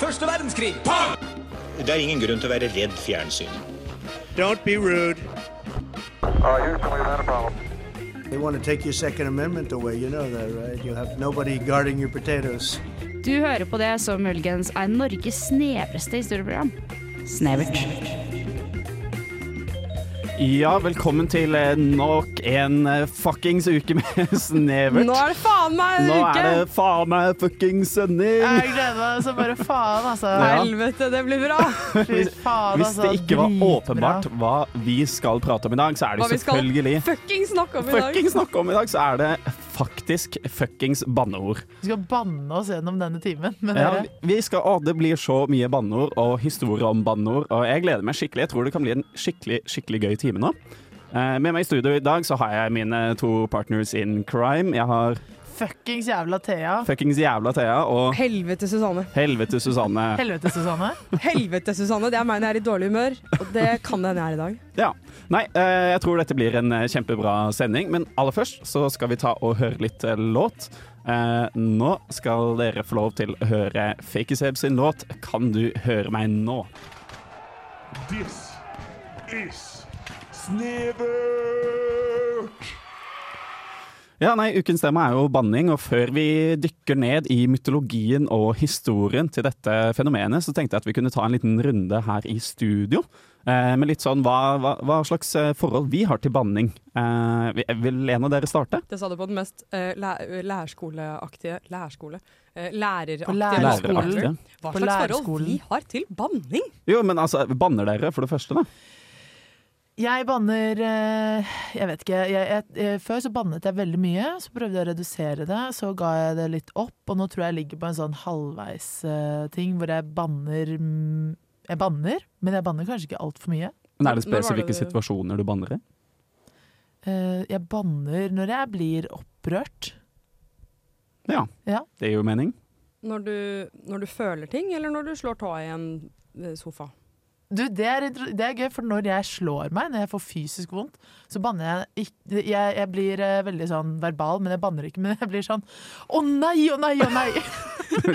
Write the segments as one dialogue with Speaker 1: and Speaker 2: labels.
Speaker 1: Første verdenskrig.
Speaker 2: Det er ingen grunn til å være redd fjernsyn.
Speaker 3: Don't be rude.
Speaker 4: Uh, Houston, we've had a problem.
Speaker 5: They want to take your Second Amendment away. You know that, right? You'll have nobody guarding your potatoes.
Speaker 6: Du hører på det som muligens er Norges snevreste historieprogram. Snevert.
Speaker 7: Ja, velkommen til eh, nok en eh, fuckings uke med snevert.
Speaker 8: Nå er det faen meg en
Speaker 7: Nå
Speaker 8: uke!
Speaker 7: er det faen meg fuckings sending!
Speaker 8: Jeg gleder meg så bare faen, altså.
Speaker 7: Ja.
Speaker 8: Helvete, det blir bra! Fy faen,
Speaker 9: altså.
Speaker 7: Hvis det ikke var åpenbart hva vi skal prate om i dag, så er
Speaker 8: Hva
Speaker 7: det
Speaker 8: vi skal
Speaker 7: selvfølgelig
Speaker 8: fuckings snakke om i dag.
Speaker 7: Fuckings snakke om i dag, så er det faktisk fuckings banneord.
Speaker 9: Vi skal banne oss gjennom denne timen. Men
Speaker 7: Ja,
Speaker 9: dere,
Speaker 7: vi skal, å, det blir så mye banneord og historier om banneord, og jeg gleder meg skikkelig. Jeg tror det kan bli en skikkelig, skikkelig gøy time nå. Eh, Med meg i studio i dag så har jeg mine to partners in crime. Jeg har
Speaker 9: fuckings jævla Thea.
Speaker 7: fuckings jævla Thea og
Speaker 8: Helvete, Susanne.
Speaker 7: helvete Susanne.
Speaker 9: Helvete, Susanne.
Speaker 8: Helvete, Susanne. Det er meg når jeg er i dårlig humør, og det kan det hende jeg er i dag.
Speaker 7: Ja. Nei, eh, jeg tror dette blir en eh, kjempebra sending, men aller først så skal vi ta og høre litt eh, låt. Eh, Nå skal dere få lov til å høre Fakeseb sin låt 'Kan du høre meg nå'.
Speaker 10: This is Snevert!
Speaker 7: Ja, nei, Ukens tema er jo banning, og før vi dykker ned i mytologien og historien til dette fenomenet, så tenkte jeg at vi kunne ta en liten runde her i studio. Eh, med litt sånn hva, hva, hva slags eh, forhold vi har til banning. Eh, vi- vil en av dere starte?
Speaker 8: Det sa du på den mest eh, læ- lærerskoleaktige Lærerskole? Eh, læreraktige
Speaker 9: På lærerskolen.
Speaker 8: måten.
Speaker 7: Læreraktige.
Speaker 8: Hva
Speaker 9: På
Speaker 8: slags forhold
Speaker 9: lærerskolen.
Speaker 8: vi har til banning?
Speaker 7: Jo, men altså, banner dere, for det første, da?
Speaker 9: Jeg banner eh, Jeg vet ikke. Jeg, jeg, eh, før så bannet jeg veldig mye. Så prøvde jeg å redusere det. Så ga jeg det litt opp. Og nå tror jeg jeg ligger på en sånn halvveis-ting hvor jeg banner mm, Jeg banner, men jeg banner kanskje ikke altfor mye.
Speaker 7: Men er det
Speaker 8: Når var det
Speaker 7: spesifikke
Speaker 8: du-
Speaker 7: situasjoner du banner i?
Speaker 9: Eh, Jeg banner når jeg blir opprørt.
Speaker 7: Ja.
Speaker 9: Ja.
Speaker 7: Det gir jo mening.
Speaker 8: Når du, når du føler ting, eller når du slår tåa i en eh, sofa?
Speaker 9: Du, det er, inter- det er gøy, for når jeg slår meg, når jeg får fysisk vondt, så banner jeg ikke Jeg, jeg blir eh, veldig sånn verbal, men jeg banner ikke. Men jeg blir sånn Å nei, å nei, å nei!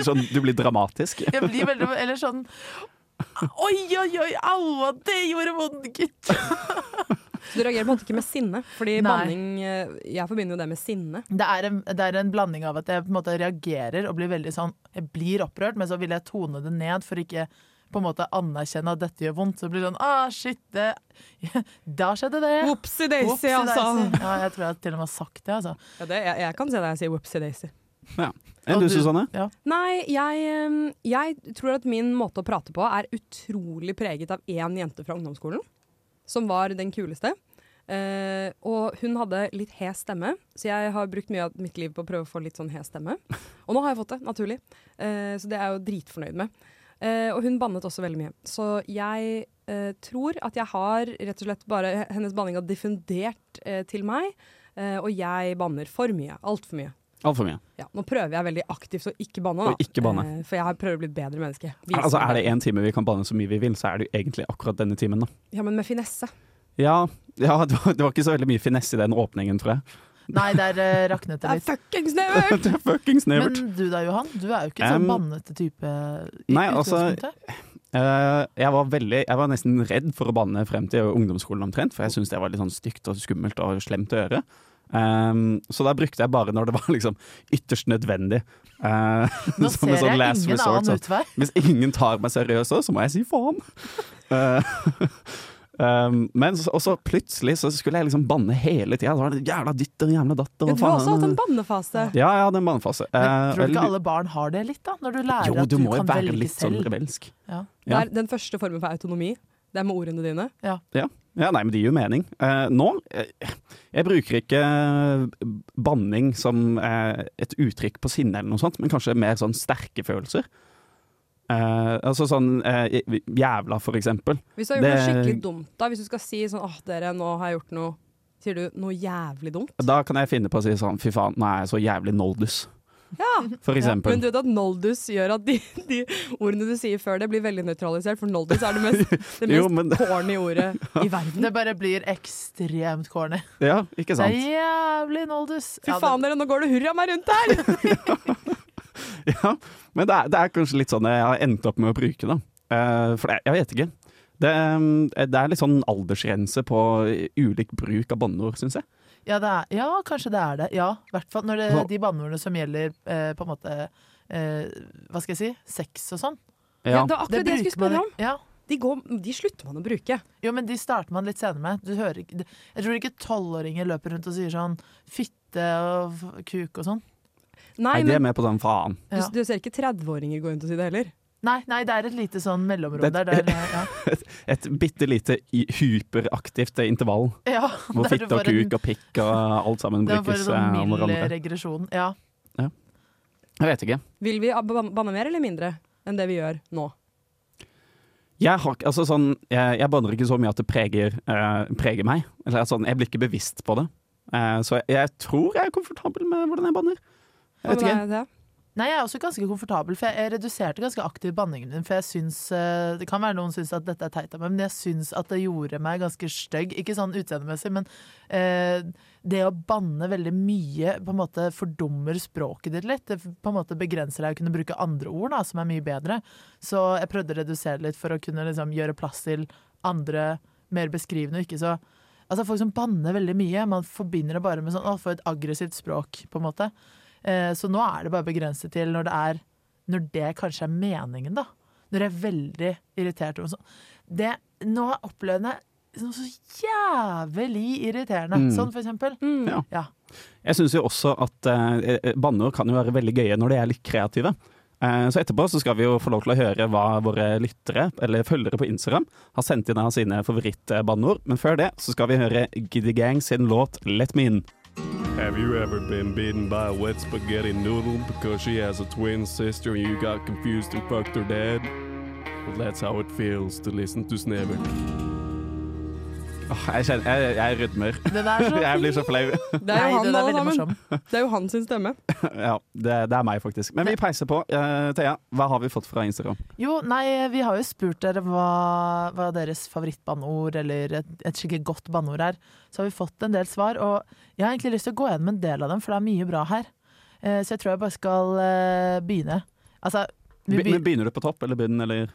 Speaker 7: sånn, du blir dramatisk.
Speaker 9: Jeg blir veldig Eller sånn Oi, oi, oi, aua, det gjorde vondt, gutt!
Speaker 8: Så du reagerer på en måte ikke med sinne, fordi
Speaker 9: Nei.
Speaker 8: banning eh, Jeg forbinder jo det med sinne.
Speaker 9: Det er, en, det er en blanding av at jeg på en måte reagerer og blir veldig sånn Jeg blir opprørt, men så vil jeg tone det ned for ikke på en måte anerkjenne at dette gjør vondt. Så blir det sånn ah, shit, det Da skjedde det.
Speaker 8: Whoopsie
Speaker 9: Oopsie
Speaker 8: daisy, altså.
Speaker 9: daisy. Ja, jeg tror jeg til og med har sagt det, altså.
Speaker 8: Ja, det, jeg, jeg kan se deg si whoopsie daisy.
Speaker 7: Enn du, Susanne?
Speaker 9: Ja.
Speaker 8: Nei, jeg, eh, jeg tror at min måte å prate på er utrolig preget av én jente fra ungdomsskolen, som var den kuleste. Eh, og hun hadde litt hes stemme, så jeg har brukt mye av mitt liv på å prøve å få litt sånn hes stemme. Og nå har jeg fått det, naturlig. Eh, så det er jeg jo dritfornøyd med. Eh, og hun bannet også veldig mye. Så jeg eh, tror at jeg har rett og slett bare hennes banning har diffundert eh, til meg, eh, og jeg banner for mye. Altfor mye.
Speaker 7: Altfor mye.
Speaker 8: Ja, nå prøver jeg veldig aktivt å ikke banne, da.
Speaker 7: Å ikke banne.
Speaker 8: Eh, for jeg har prøvd å bli et bedre menneske. Vise
Speaker 7: Altså,
Speaker 8: meg
Speaker 7: er det én time vi kan banne så mye vi vil, så er det jo egentlig akkurat denne timen, da.
Speaker 8: Ja, men med finesse.
Speaker 7: Ja, ja det, var, det var ikke så veldig mye finesse i den åpningen, tror jeg.
Speaker 9: Nei, der eh, raknet
Speaker 8: Det
Speaker 9: det
Speaker 8: er
Speaker 9: litt.
Speaker 8: fuckings never!
Speaker 7: Det er fuckings
Speaker 9: Men
Speaker 7: nevert.
Speaker 9: du da, Johan? Du er jo ikke en sånn
Speaker 7: Um,
Speaker 9: bannete type i
Speaker 7: nei, altså,
Speaker 9: utgangspunktet.
Speaker 7: Eh, jeg, var veldig, jeg var nesten redd for å banne frem til ungdomsskolen omtrent, for jeg syntes det var litt sånn stygt og skummelt og slemt å gjøre. Ehm, så da brukte jeg bare når det var liksom ytterst nødvendig. Eh,
Speaker 9: Nå
Speaker 7: som en
Speaker 9: ser jeg
Speaker 7: sånn
Speaker 9: ingen
Speaker 7: last resort,
Speaker 9: annen
Speaker 7: sånn.
Speaker 9: utvei.
Speaker 7: Hvis ingen tar meg seriøst også, så må jeg si faen. Eh, ehm, men så, og så plutselig så skulle jeg liksom banne hele tida. Jævla ditt og jævla datt og
Speaker 8: Ja, du har også hatt en bannefase.
Speaker 7: Ja, jeg hadde en bannefase. Eh,
Speaker 9: Men tror du
Speaker 7: og
Speaker 9: ikke
Speaker 7: jeg
Speaker 9: alle barn har det litt, da? Når du lærer
Speaker 7: lurer- jo,
Speaker 9: at du,
Speaker 7: du må jo
Speaker 9: kan
Speaker 7: være
Speaker 9: velge
Speaker 7: litt sånn
Speaker 9: selv.
Speaker 7: rebelsk.
Speaker 9: Ja.
Speaker 8: Det
Speaker 7: Ja.
Speaker 8: er den første formen for autonomi. Det er med ordene dine.
Speaker 7: Ja. ja, nei, men det gir jo mening. Eh, nå eh, Jeg bruker ikke eh, banning som eh, et uttrykk på sinne eller noe sånt, men kanskje mer sånn sterke følelser. Eh, altså sånn eh, jævla, for eksempel.
Speaker 8: Hvis du har gjort noe
Speaker 7: Det-
Speaker 8: skikkelig dumt, da. Hvis du skal si sånn åh, dere, nå har jeg gjort noe Sier du noe jævlig dumt?
Speaker 7: Da kan jeg finne på å si sånn fy faen, nå er jeg så jævlig noldus.
Speaker 8: Ja.
Speaker 7: For
Speaker 8: Men
Speaker 7: eksempel.
Speaker 8: du vet at noldus gjør at de, de ordene du sier før det, blir veldig nøytralisert, for noldus er det mest, det mest
Speaker 7: Jo, men-
Speaker 8: corny ordet i verden.
Speaker 9: Det bare blir ekstremt corny.
Speaker 7: Ja, ikke
Speaker 9: Det er
Speaker 7: sant?
Speaker 9: jævlig noldus.
Speaker 8: Fy
Speaker 9: Ja, det-
Speaker 8: faen, dere, nå går det hurra meg rundt her!
Speaker 7: Ja, men det er, det er kanskje litt sånn jeg har endt opp med å bruke det. Eh, for jeg, jeg vet ikke. Det, mm, det er litt sånn aldersgrense på ulik bruk av banneord, syns jeg.
Speaker 9: Ja, det er, ja, kanskje det er det. Ja, i hvert fall når det,
Speaker 7: Ja.
Speaker 9: de banneordene som gjelder eh, på en måte eh, Hva skal jeg si? Sex og sånn.
Speaker 8: Ja, det var akkurat det, jeg
Speaker 9: bruker
Speaker 8: skulle spørre
Speaker 9: man-
Speaker 8: om.
Speaker 9: Ja.
Speaker 8: De, går, de slutter man å bruke.
Speaker 9: Jo, men de starter man litt senere med. Du hører, ikke- jeg tror ikke tolvåringer løper rundt og sier sånn fitte og f- kuk og sånn.
Speaker 8: Nei,
Speaker 7: Nei, de er
Speaker 8: men
Speaker 7: med på den faen.
Speaker 8: du,
Speaker 9: Ja.
Speaker 8: du ser ikke 30-åringer gå rundt og si det heller.
Speaker 9: Nei, nei, det er et lite sånn mellomrom
Speaker 7: Det-
Speaker 9: der. der ja.
Speaker 7: Et bitte lite i- hyperaktivt intervall
Speaker 9: Ja,
Speaker 7: hvor
Speaker 9: der du
Speaker 7: fitte og
Speaker 9: får en-
Speaker 7: kuk og pikk og alt sammen
Speaker 9: Det var bare
Speaker 7: brukes eh,
Speaker 9: sånn
Speaker 7: om
Speaker 9: mild
Speaker 7: hverandre.
Speaker 9: regresjon. Ja.
Speaker 7: Jeg vet ikke.
Speaker 8: Vil vi ab- ban- banne mer eller mindre enn det vi gjør nå?
Speaker 7: Jeg, har, ikke- altså sånn, jeg, jeg banner ikke så mye at det preger, eh, preger meg. Eller at sånn, jeg blir ikke bevisst på det. Eh, så jeg, jeg tror jeg er komfortabel med hvordan jeg banner. Jeg vet
Speaker 8: Hva
Speaker 7: ikke.
Speaker 8: med deg, Thea?
Speaker 9: Nei, jeg er også ganske komfortabel, for jeg- jeg reduserte ganske aktivt banningen min. For jeg syns eh, Det kan være noen syns at dette er teit av meg, men jeg syns at det gjorde meg ganske stygg. Ikke sånn utseendemessig, men eh, det å banne veldig mye på en måte fordummer språket ditt litt. Det på en måte begrenser deg å kunne bruke andre ord, da, som er mye bedre. Så jeg prøvde å redusere litt for å kunne liksom gjøre plass til andre mer beskrivende, og ikke så Altså Folk som banner veldig mye, man forbinder det bare med sånn Å, for et aggressivt språk, på en måte. Eh, Så nå er det bare begrenset til når det er Når det kanskje er meningen, da. Når jeg er veldig irritert over sånn. Det, nå har jeg opplevd det som så jævlig
Speaker 7: Mm.
Speaker 9: irriterende. Sånn, for eksempel.
Speaker 7: Ja.
Speaker 9: Ja.
Speaker 7: Jeg syns jo også at eh, eh, banneord kan jo være veldig gøye når de er litt kreative. Eh, så etterpå så skal vi jo få lov til å høre hva våre lyttere, eller følgere på Instagram, har sendt inn av sine favorittbanneord. Men før det så skal vi høre Giddy Gang sin låt 'Let Me In'.
Speaker 10: Have you ever been bitten by a wet spaghetti noodle because she has a twin sister and you got confused and fucked her dad? Well, that's how it feels to listen to Snever.
Speaker 7: Åh, jeg, kjenner, jeg, jeg rødmer.
Speaker 9: Den er så
Speaker 7: Jeg blir så flau.
Speaker 8: Det er
Speaker 9: Nei,
Speaker 8: jo
Speaker 9: den er
Speaker 8: han, alle
Speaker 9: veldig
Speaker 8: sammen.
Speaker 9: morsom.
Speaker 8: Det er jo han sin stemme.
Speaker 7: ja, det, det er meg, faktisk. Men vi peiser på. Eh, Thea, hva har vi fått fra Instagram?
Speaker 9: Jo, nei, vi har jo spurt dere hva, hva deres favorittbanneord eller et, et skikkelig godt banneord er. Så har vi fått en del svar, og jeg har egentlig lyst til å gå gjennom en del av dem, for det er mye bra her. Eh, Så jeg tror jeg bare skal eh, begynne. Altså, vi
Speaker 7: Be
Speaker 9: begynner
Speaker 7: men begynner du på topp eller bunn, eller?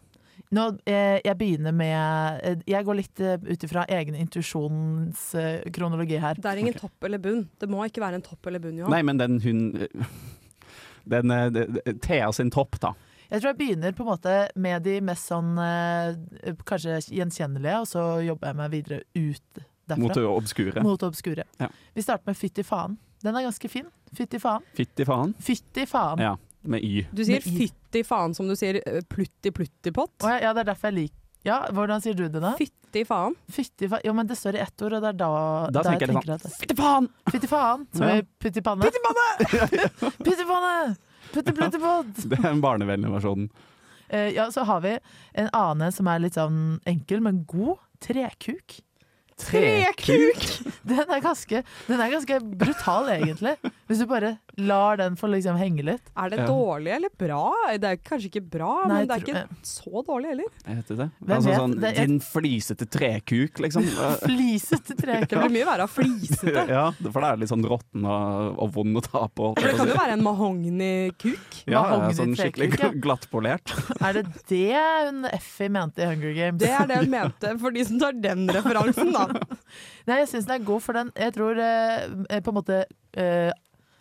Speaker 9: Nå, eh, jeg begynner med eh, Jeg går litt eh, ut ifra egen intuisjons eh, kronologi her.
Speaker 8: Det er ingen topp eller bunn. Det må ikke være en topp eller bunn, Johan.
Speaker 7: Nei, men den hun eh, Den eh, de- de- Thea sin topp, da.
Speaker 9: Jeg tror jeg begynner på en måte med de mest sånn eh, kanskje gjenkjennelige, og så jobber jeg meg videre ut derfra.
Speaker 7: Mot det obskure.
Speaker 9: Mot det obskure.
Speaker 7: Ja.
Speaker 9: Vi starter med fytti faen. Den er ganske fin. Fytti faen.
Speaker 7: Fytti faen.
Speaker 9: Fytti faen. Ja.
Speaker 7: Ja, med Y.
Speaker 8: Du sier
Speaker 9: Med i.
Speaker 8: fytti faen som du sier eh, plutti pluttipott.
Speaker 9: ja, det er derfor jeg liker ja, Hvordan sier du det, da?
Speaker 8: Fytti faen.
Speaker 9: Fytti faen. Jo, men det står i ett ord, og det er da,
Speaker 7: Da tenker jeg
Speaker 9: jeg at
Speaker 7: Fytti faen!
Speaker 9: Fytti faen! Som i
Speaker 7: Ja.
Speaker 9: putt i panne. Putt i panne! Putti plutti pott!
Speaker 7: Det er den barnevennlige versjonen.
Speaker 9: Eh, Ja, så har vi en annen som er litt sånn enkel, men god. Trekuk.
Speaker 8: Trekuk!
Speaker 9: Den er ganske, den er ganske brutal, egentlig. Hvis du bare lar den få liksom henge litt.
Speaker 8: Er det
Speaker 7: Ja.
Speaker 8: dårlig eller bra? Det er kanskje ikke bra,
Speaker 9: Nei,
Speaker 8: men det er
Speaker 9: tro-
Speaker 7: eh.
Speaker 8: ikke så dårlig heller.
Speaker 7: Heter det
Speaker 9: Hvem
Speaker 7: altså,
Speaker 9: vet?
Speaker 7: sånn,
Speaker 9: Det er-
Speaker 7: Din flisete trekuk, liksom. Eh,
Speaker 9: Flisete
Speaker 8: Det
Speaker 9: trekuk.
Speaker 8: blir mye verre av flisete.
Speaker 7: ja, for det er litt sånn råtten og, og vond å ta på.
Speaker 8: For det kan jo være en mahognykuk.
Speaker 7: Ja, ja,
Speaker 9: Mahogni
Speaker 7: sånn skikkelig
Speaker 9: trekuk, ja.
Speaker 7: glattpolert.
Speaker 9: Er det det hun Effie mente i Hunger Games?
Speaker 8: Det er det hun mente, for de som tar den referansen, da.
Speaker 9: Nei, jeg syns den er god, for den Jeg tror eh, på en måte eh,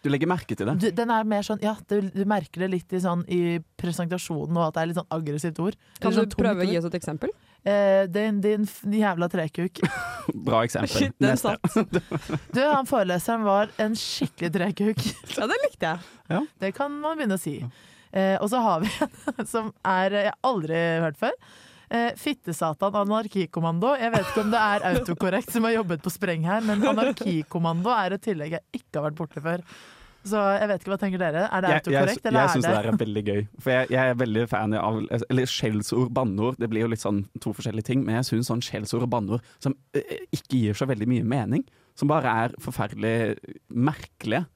Speaker 7: Du legger merke til det.
Speaker 9: du, Den er mer sånn Ja, du, du merker det litt i, sånn, i presentasjonen, og at det er litt sånn aggressivt ord. Eller
Speaker 8: Kan du
Speaker 9: sånn tungt
Speaker 8: prøve å
Speaker 9: ord.
Speaker 8: gi oss et eksempel?
Speaker 9: Eh, din, din f- jævla trekuk.
Speaker 7: Bra eksempel.
Speaker 8: Shit, den
Speaker 7: Neste.
Speaker 8: satt.
Speaker 9: Du, han foreleseren var en skikkelig trekuk.
Speaker 8: Ja, den likte jeg.
Speaker 9: Det kan man begynne å si. Eh, og så har vi en som er eh, jeg aldri har hørt før. Eh, Fittesatan anarkikommando. Jeg vet ikke om det er autokorrekt som har jobbet på spreng her, men anarkikommando er et tillegg jeg ikke har vært borti før. Så jeg vet ikke, hva tenker dere? Er det
Speaker 7: Jeg, jeg,
Speaker 9: autokorrekt,
Speaker 7: jeg syns
Speaker 9: eller
Speaker 7: det
Speaker 9: er
Speaker 7: der
Speaker 9: det
Speaker 7: er veldig gøy. For jeg, jeg er veldig fan av Eller skjellsord, banneord. Det blir jo litt sånn to forskjellige ting, men jeg syns sånn skjellsord og banneord som eh, ikke gir så veldig mye mening, som bare er forferdelig merkelige,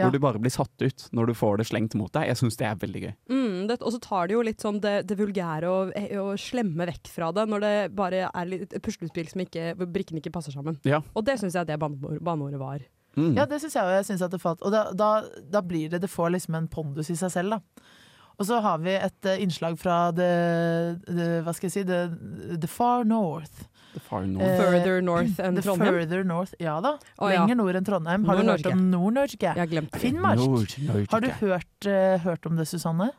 Speaker 9: Ja.
Speaker 7: hvor du bare blir satt ut når du får det slengt mot deg, jeg syns det er veldig gøy.
Speaker 8: Mm, det, og så tar de jo litt sånn det, det vulgære og, og slemme vekk fra det, når det bare er litt et puslespill som ikke, hvor brikkene ikke passer sammen.
Speaker 7: Ja.
Speaker 8: Og det syns jeg det banneord- banneordet var.
Speaker 7: Mm.
Speaker 9: Ja, det syns jeg òg. Jeg synes at det falt. Og da, da, da blir det Det får liksom en pondus i seg selv, da. Og så har vi et eh, innslag fra the, the, hva skal jeg si, the, the far north.
Speaker 7: The far
Speaker 9: Eh,
Speaker 7: north.
Speaker 8: Further north enn
Speaker 9: The
Speaker 8: Trondheim.
Speaker 9: further north. Ja da.
Speaker 8: Å, ja.
Speaker 9: Lenger nord enn Trondheim. Har du hørt
Speaker 8: Nord-Norge.
Speaker 9: om Nord-Norge?
Speaker 8: Jeg har glemt det.
Speaker 9: Finnmark.
Speaker 7: Nord-
Speaker 9: Har du hørt, eh, hørt om det, Susanne?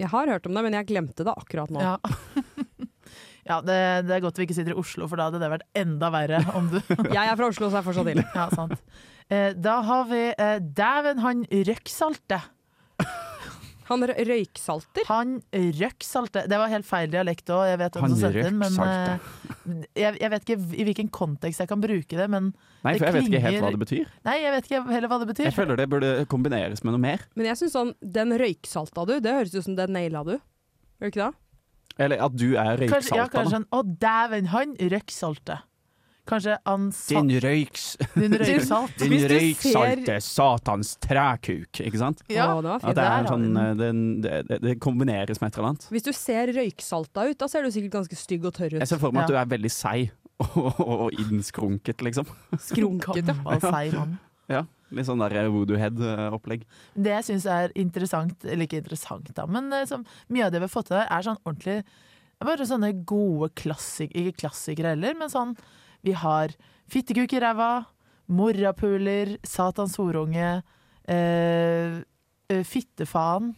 Speaker 8: Jeg har hørt om det, men jeg glemte det akkurat nå.
Speaker 9: Ja. ja, det, det er godt vi ikke sitter i Oslo, for da hadde det vært enda verre om du
Speaker 8: Jeg er fra Oslo, så jeg får så til.
Speaker 9: Ja, sant. Eh, da har vi eh, Dæven, han røkksalte!
Speaker 8: Han rø- røyksalter.
Speaker 9: Han røkksalte. Det var helt feil dialekt òg, jeg vet hvem
Speaker 7: Han
Speaker 9: som sendte den, men
Speaker 7: røkksalte.
Speaker 9: eh, jeg, jeg vet ikke i hvilken kontekst jeg kan bruke det, men
Speaker 7: Nei, for jeg vet ikke helt hva det betyr.
Speaker 9: Nei, jeg vet ikke heller hva det betyr.
Speaker 7: Jeg føler det burde kombineres med noe mer.
Speaker 8: Men jeg syns sånn Den røyksalta du, det høres ut som den naila du. Gjør det ikke det?
Speaker 7: Eller at du er
Speaker 9: Kanskje, ja,
Speaker 7: røyksalta.
Speaker 9: kanskje
Speaker 7: da.
Speaker 9: han Å, dæven, han røkksalte. Kanskje han sa
Speaker 7: Din røyks...
Speaker 9: Din røyksalt.
Speaker 7: Din
Speaker 8: Hvis du
Speaker 7: røyksalte satans trækuk, ikke sant?
Speaker 9: Ja.
Speaker 8: Å, det var
Speaker 7: At
Speaker 8: fint.
Speaker 7: det,
Speaker 9: der
Speaker 7: er
Speaker 9: har
Speaker 7: sånn,
Speaker 9: vi
Speaker 7: eh, den, det, det- det kombineres med et eller annet.
Speaker 8: Hvis du ser røyksalta ut, da ser du sikkert ganske stygg og tørr
Speaker 7: Jeg
Speaker 8: ut.
Speaker 7: ser for meg at du
Speaker 9: Ja.
Speaker 7: er veldig seig og, og, og innskrunket, liksom.
Speaker 8: Skrunket, ja.
Speaker 9: Gammel, seig mann.
Speaker 7: Ja, Litt sånn der voodoo-head-opplegg.
Speaker 9: Det jeg syns er interessant, eller ikke interessant, da, men eh, som mye av det vi har fått til der, er sånn ordentlig det er Bare sånne gode klassikere, ikke klassikere heller, men sånn Vi har fittekuk i ræva, morapuler, satans horunge, eh, eh, fittefaen,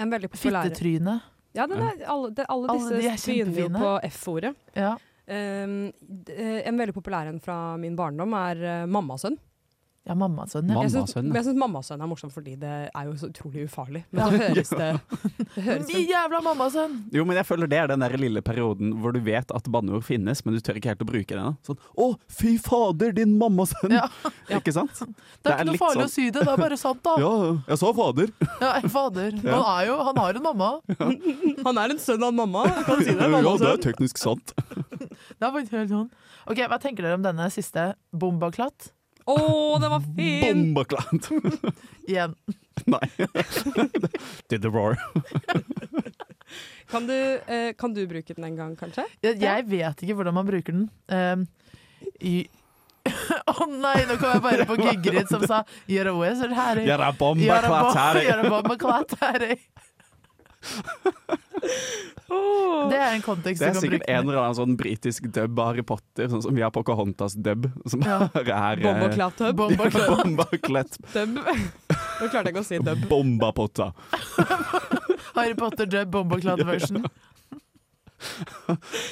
Speaker 8: En veldig populær
Speaker 9: fittetryne.
Speaker 8: Ja, den er, alle, det, alle
Speaker 9: Alle de er
Speaker 8: disse begynner jo
Speaker 9: kjempefine.
Speaker 8: på F-ordet.
Speaker 9: Ja.
Speaker 8: Um, d- eh, en veldig populær en fra min barndom er eh, mammasønn.
Speaker 9: ja, mamma sånn, ja.
Speaker 7: Mamma.
Speaker 8: Jeg syns-
Speaker 7: Mammasønn, ja.
Speaker 8: men jeg syns mammasønn er morsomt fordi det er jo så utrolig ufarlig. Men det høres det, det høres
Speaker 9: De jævla mamma sånn!
Speaker 7: Jo, men jeg føler det er den der lille perioden hvor du vet at banneord finnes, men du tør ikke helt å bruke det ennå. Sånn 'Å, fy fader, din mammasønn!'
Speaker 9: Ja.
Speaker 7: Ikke sant?
Speaker 9: Det er ikke noe farlig
Speaker 7: sånn,
Speaker 9: å si det, det er bare sant, da.
Speaker 7: Ja, jeg sa fader.
Speaker 9: Ja, fader. Han, er jo, han har en mamma.
Speaker 8: Han er en sønn av mamma, jeg kan si det.
Speaker 7: ja, det
Speaker 8: Mammasønn.
Speaker 7: er teknisk sant.
Speaker 9: Det er faktisk helt sånn. Ok, Hva tenker dere om denne siste? Bombaklatt?
Speaker 8: Å, det var fint!
Speaker 7: Bombaklant.
Speaker 9: Igjen.
Speaker 7: Nei. Did the roar.
Speaker 8: Kan du, eh, kan du bruke den en gang, kanskje?
Speaker 9: Jeg, jeg vet ikke hvordan man bruker den. Um, i Å nei, nå kom jeg bare på Gygrid som sa 'You're always a herre'.
Speaker 7: Jeg er
Speaker 9: You're a
Speaker 7: bombaklatt
Speaker 9: bo-
Speaker 7: her. jeg.
Speaker 9: you're a bombaklatt herre. Det er en kontekst
Speaker 7: Det
Speaker 9: du
Speaker 7: er
Speaker 9: kan
Speaker 7: sikkert
Speaker 9: bruke.
Speaker 7: en
Speaker 9: den i.
Speaker 7: eller annen sånn britisk dub av Harry Potter, sånn som vi har Pocahontas-dub, som
Speaker 9: Ja.
Speaker 7: bare er eh,
Speaker 8: Bob og Klattub.
Speaker 9: Bombaklatt.
Speaker 7: Bombaklatt.
Speaker 8: Dub. Nå klarte jeg ikke å si dub.
Speaker 7: Bombapotta.
Speaker 9: Harry Potter dub bombaklatt-version.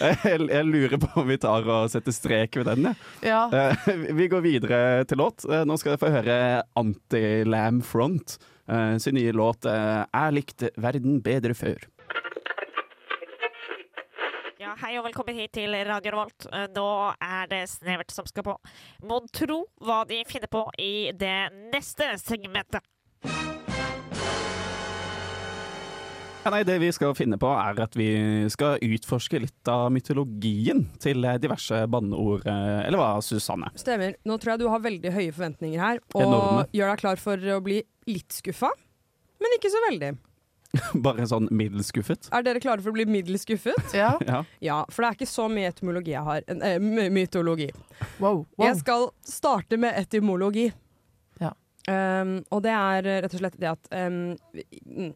Speaker 7: Jeg, jeg lurer på om vi tar og setter strek ved den. jeg.
Speaker 9: Ja.
Speaker 7: Eh, Vi går videre til låt. Eh, Nå skal dere få høre Anti-Lam Front eh, sin nye låt eh, 'Jeg likte verden bedre før'.
Speaker 1: Ja, hei og velkommen hit til Radio Revolt. Eh, Nå er det snevert som skal på. Må tro hva de finner på i det neste segmentet.
Speaker 7: Ja, nei, det vi skal finne på, er at vi skal utforske litt av mytologien til eh, diverse banneord. eh, Eller hva, Susanne?
Speaker 8: Stemmer. Nå tror jeg du har veldig høye forventninger her, og
Speaker 7: Enorme.
Speaker 8: gjør deg klar for å bli litt skuffa. Men ikke så veldig.
Speaker 7: Bare sånn middels skuffet?
Speaker 8: Er dere klare for å bli middels skuffet?
Speaker 9: ja.
Speaker 7: Ja.
Speaker 8: Ja, for det er ikke så mye etymologi jeg har. En, eh, my- mytologi.
Speaker 9: Wow. wow.
Speaker 8: Jeg skal starte med etymologi.
Speaker 9: Ja.
Speaker 8: Um, og det er eh, rett og slett det at um, vi- mm.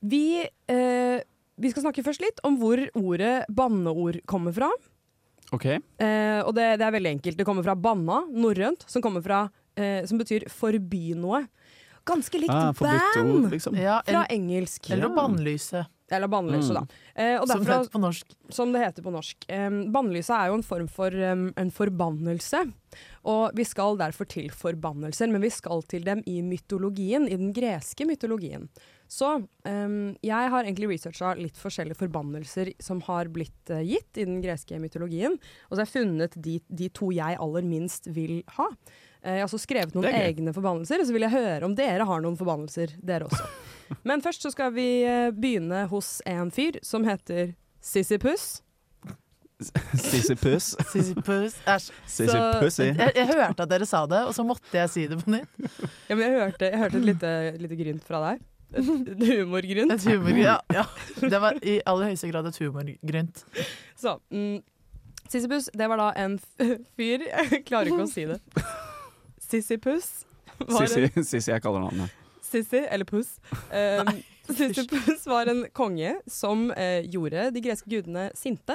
Speaker 8: vi, eh, vi skal snakke først litt om hvor ordet banneord kommer fra.
Speaker 7: OK.
Speaker 8: Eh, og det, det er veldig enkelt. Det kommer fra banna, norrønt, som, kommer fra, eh, som betyr forby noe. Ganske likt
Speaker 7: Ah, forbudt
Speaker 8: ban
Speaker 7: ord, liksom.
Speaker 9: ja,
Speaker 8: fra
Speaker 9: eller,
Speaker 8: engelsk.
Speaker 9: eller å bannlyse,
Speaker 8: Eller bannlyse,
Speaker 7: Mm.
Speaker 8: da. Eh, og
Speaker 9: som
Speaker 8: derfra,
Speaker 9: heter på norsk.
Speaker 8: som det heter på norsk. Um, bannlyse er jo en form for um, en forbannelse. Og vi skal derfor til forbannelser, men vi skal til dem i mytologien, i den greske mytologien. Så um, jeg har egentlig researcha litt forskjellige forbannelser som har blitt eh, gitt i den greske mytologien. Og så har jeg funnet de, de to jeg aller minst vil ha. Eh, jeg har også skrevet noen
Speaker 7: Det er gøy.
Speaker 8: egne forbannelser, og så vil jeg høre om dere har noen forbannelser, dere også. Men først så skal vi eh, begynne hos en fyr som heter Sisypus.
Speaker 7: Sissy Puss.
Speaker 9: Sisyphus. Æsj.
Speaker 7: Sissy
Speaker 8: Så- eh,
Speaker 7: Pussy.
Speaker 9: Jeg, jeg hørte at dere sa det, og så måtte jeg si det på nytt.
Speaker 8: Ja, men jeg hørte, jeg hørte et lite, lite grynt fra deg. Et, et humorgrynt.
Speaker 9: Et humor, ja, ja. Det var i aller høyeste grad et humorgrynt.
Speaker 8: Så, mm, Sisypus, det var da en f- fyr Jeg klarer ikke å si det. Sisypus. var en-
Speaker 7: Sissy, Sissy jeg kaller navnet.
Speaker 8: Sissy, eller Puss, um, Sisypus var en konge som eh, gjorde de greske gudene sinte.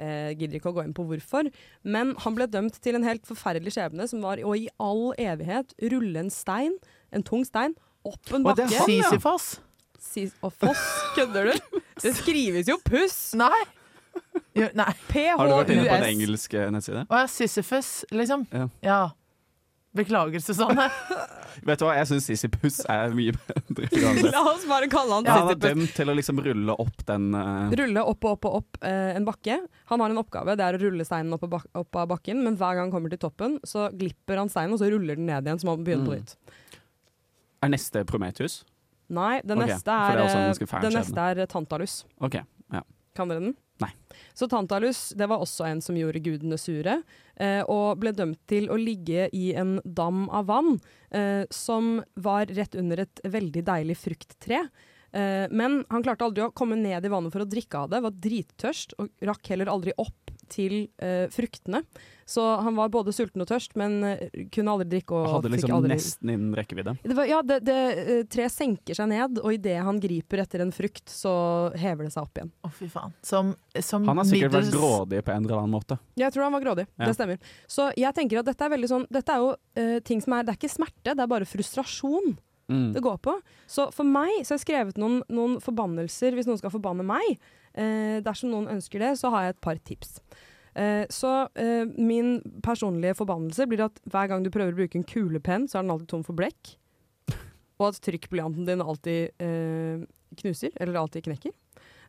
Speaker 8: Eh, gidder ikke å gå inn på hvorfor. Men han ble dømt til en helt forferdelig skjebne, som var å i all evighet rulle en stein, en tung stein, opp en
Speaker 7: Å, det er
Speaker 8: bakke.
Speaker 7: han,
Speaker 9: Sånn,
Speaker 7: ja.
Speaker 9: Sisyfos?
Speaker 8: Sis- Og foss, kødder du? Det skrives jo puss!
Speaker 9: Nei. Jo, nei.
Speaker 7: Har du vært inne på en
Speaker 8: PHUS.
Speaker 7: engelsk eh, nettside?
Speaker 9: Å ja, Sisyfus, liksom.
Speaker 7: Ja.
Speaker 9: Ja. Beklager, Susanne.
Speaker 7: Vet du hva, jeg syns Sisypus er mye bedre. uansett.
Speaker 8: La oss bare kalle han
Speaker 7: Ja, han er
Speaker 8: Sisypus.
Speaker 7: dømt til å liksom rulle opp den eh,
Speaker 8: Rulle opp og opp og opp eh, en bakke. Han har en oppgave, det er å rulle steinen opp, av bak opp av bakken, men hver gang han kommer til toppen, så glipper han steinen, og så ruller den ned igjen, så må han begynne på
Speaker 7: Mm.
Speaker 8: nytt.
Speaker 7: Er neste Prometheus?
Speaker 8: Nei, den
Speaker 7: Ok,
Speaker 8: neste
Speaker 7: for det
Speaker 8: er,
Speaker 7: er også en
Speaker 8: eh,
Speaker 7: ganske fæl
Speaker 8: den
Speaker 7: skjebne.
Speaker 8: neste er Tantalus.
Speaker 7: OK. Ja.
Speaker 8: Kan dere den?
Speaker 7: Nei.
Speaker 8: Så Tantalus det var også en som gjorde gudene sure, eh, og ble dømt til å ligge i en dam av vann eh, som var rett under et veldig deilig frukttre. Eh, men han klarte aldri å komme ned i vannet for å drikke av det, var drittørst og rakk heller aldri opp til eh, fruktene. Så han var både sulten og tørst, men eh, kunne aldri drikke og
Speaker 7: Hadde
Speaker 8: fikk
Speaker 7: liksom
Speaker 8: aldri
Speaker 7: nesten innen rekkevidde.
Speaker 8: det var, ja, det, det, eh, treet senker seg ned, og idet han griper etter en frukt, så hever det seg opp igjen.
Speaker 9: Å, fy faen. Som, som
Speaker 7: Han har sikkert vært
Speaker 9: middels-
Speaker 7: grådig på en eller annen måte.
Speaker 8: Jeg tror han var grådig.
Speaker 7: Ja.
Speaker 8: Det stemmer. Så jeg tenker at dette er veldig sånn Dette er jo eh, ting som er Det er ikke smerte, det er bare frustrasjon
Speaker 7: Mm.
Speaker 8: det går på. Så for meg så har jeg skrevet noen, noen forbannelser, hvis noen skal forbanne meg. Eh, dersom noen ønsker det, så har jeg et par tips. Eh, så eh, min personlige forbannelse blir at hver gang du prøver å bruke en kulepenn, så er den alltid tom for blekk. Og at trykkblyanten din alltid eh, knuser, eller alltid knekker.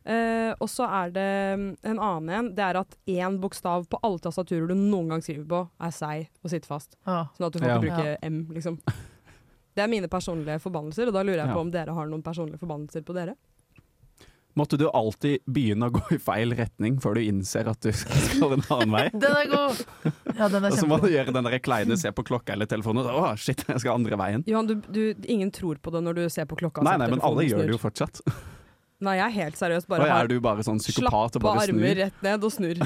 Speaker 8: Eh, og så er det mm, en annen en. Det er at én bokstav på alle tastaturer du noen gang skriver på, er seig og sitter fast.
Speaker 9: Ja.
Speaker 8: Sånn at du får
Speaker 7: Ja.
Speaker 8: ikke bruke M, liksom. Det er mine personlige forbannelser, og da lurer jeg
Speaker 7: Ja.
Speaker 8: på om dere har noen personlige forbannelser på dere.
Speaker 7: Måtte du alltid begynne å gå i feil retning før du innser at du skal en annen vei?
Speaker 9: Den er god! Ja, den er
Speaker 7: Og så må du
Speaker 9: kjempegod.
Speaker 7: gjøre den der kleine se på klokka eller telefonen og så, Å, shit, jeg skal andre veien.
Speaker 8: Johan, du, du, ingen tror på det når du ser på klokka.
Speaker 7: Nei,
Speaker 8: så
Speaker 7: nei, men
Speaker 8: telefonen
Speaker 7: alle gjør
Speaker 8: snur.
Speaker 7: det jo fortsatt.
Speaker 8: Nei, jeg er helt seriøst
Speaker 7: Og
Speaker 8: bare
Speaker 7: er du bare sånn psykopat og
Speaker 8: slappe
Speaker 7: bare
Speaker 8: armer
Speaker 7: snur?
Speaker 8: rett ned og snur.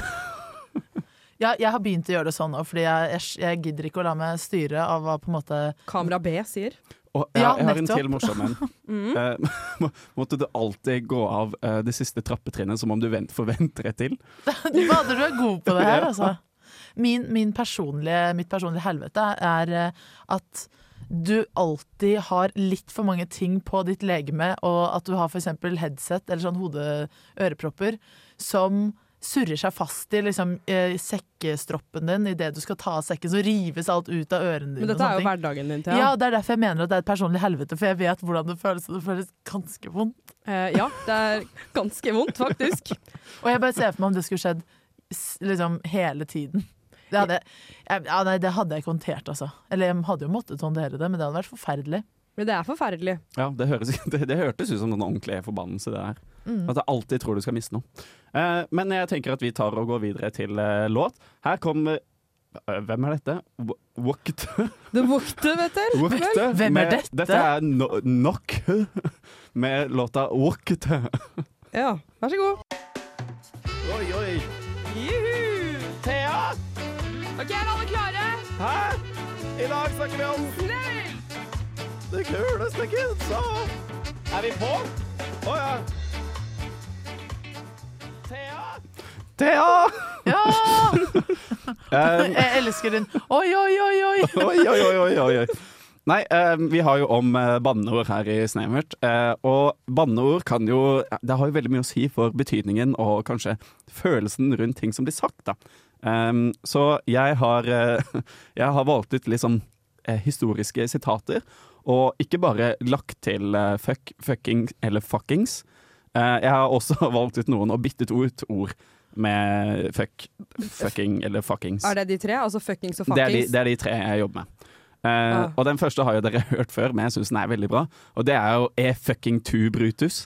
Speaker 9: Ja, jeg har begynt å gjøre det sånn nå, fordi jeg, jeg, jeg gidder ikke å la meg styre av hva på en måte
Speaker 8: Kamera B sier.
Speaker 7: Og jeg,
Speaker 9: Ja,
Speaker 7: jeg har en
Speaker 9: nettopp.
Speaker 7: til morsom en.
Speaker 8: Mm.
Speaker 7: Eh, må- måtte du alltid gå av eh, det siste trappetrinnet som om du vent, forventer et til?
Speaker 9: Du bader, du er god på det her, altså. Min, min personlige, mitt personlige helvete er eh, at du alltid har litt for mange ting på ditt legeme, og at du har f.eks. headset eller sånn hode-ørepropper som surrer seg fast i liksom, eh, sekkestroppen din idet du skal ta av sekken, så rives alt ut av ørene dine. og
Speaker 8: Men dette
Speaker 9: sånne
Speaker 8: er jo
Speaker 9: ting.
Speaker 8: hverdagen din,
Speaker 9: Ja,
Speaker 8: Thea.
Speaker 9: og Det er derfor jeg mener at det er et personlig helvete, for jeg vet hvordan det føles. og Det føles ganske vondt.
Speaker 8: Eh, ja, det er ganske vondt, faktisk.
Speaker 9: Og jeg bare ser for meg om det skulle skjedd s- liksom hele tiden. Det hadde, jeg, ja, nei, det hadde jeg ikke håndtert, altså. Eller jeg hadde jo måttet håndtere det, men det hadde vært forferdelig.
Speaker 8: Men det er forferdelig.
Speaker 7: Ja, det, høres, det, det hørtes ut som en ordentlig forbannelse, det der.
Speaker 9: Mm.
Speaker 7: At jeg alltid tror du skal miste noe. Eh, men jeg tenker at vi tar og går videre til eh, låt. Her kommer eh, Hvem er dette? W- Wokte?
Speaker 8: Det vokter, vet du.
Speaker 7: Wokte
Speaker 9: Hvem er
Speaker 7: med-
Speaker 9: dette?
Speaker 7: Dette er no Nok med låta Wokte.
Speaker 8: Ja, vær så god.
Speaker 7: Oi, oi.
Speaker 8: Juhu!
Speaker 7: Thea!
Speaker 8: OK, er alle klare?
Speaker 7: Hæ? I dag snakker vi om Det kuleste kidsa. Er vi på? Å ja. Thea! Thea!
Speaker 9: Ja!
Speaker 7: Um,
Speaker 9: Jeg elsker den. Oi, oi, oi, oi!
Speaker 7: oi, oi, oi, oi, oi, oi. Nei, eh, vi har jo om eh, banneord her i Snevert. eh, og banneord kan jo eh, Det har jo veldig mye å si for betydningen og kanskje følelsen rundt ting som blir sagt, da. Em, så jeg har, eh, jeg har valgt ut litt sånn eh, historiske sitater. Og ikke bare lagt til eh, fuck, fucking eller fuckings. Eh, jeg har også valgt ut noen og byttet ut ord med fuck, fucking eller fuckings.
Speaker 8: Er det de tre? Altså fuckings og
Speaker 7: Det er, de,
Speaker 8: fuckings?
Speaker 7: det er de tre jeg jobber med. Eh,
Speaker 8: Ah.
Speaker 7: Og den første har jo dere hørt før, men jeg syns den er veldig bra. Og det er jo E fucking to Brutus.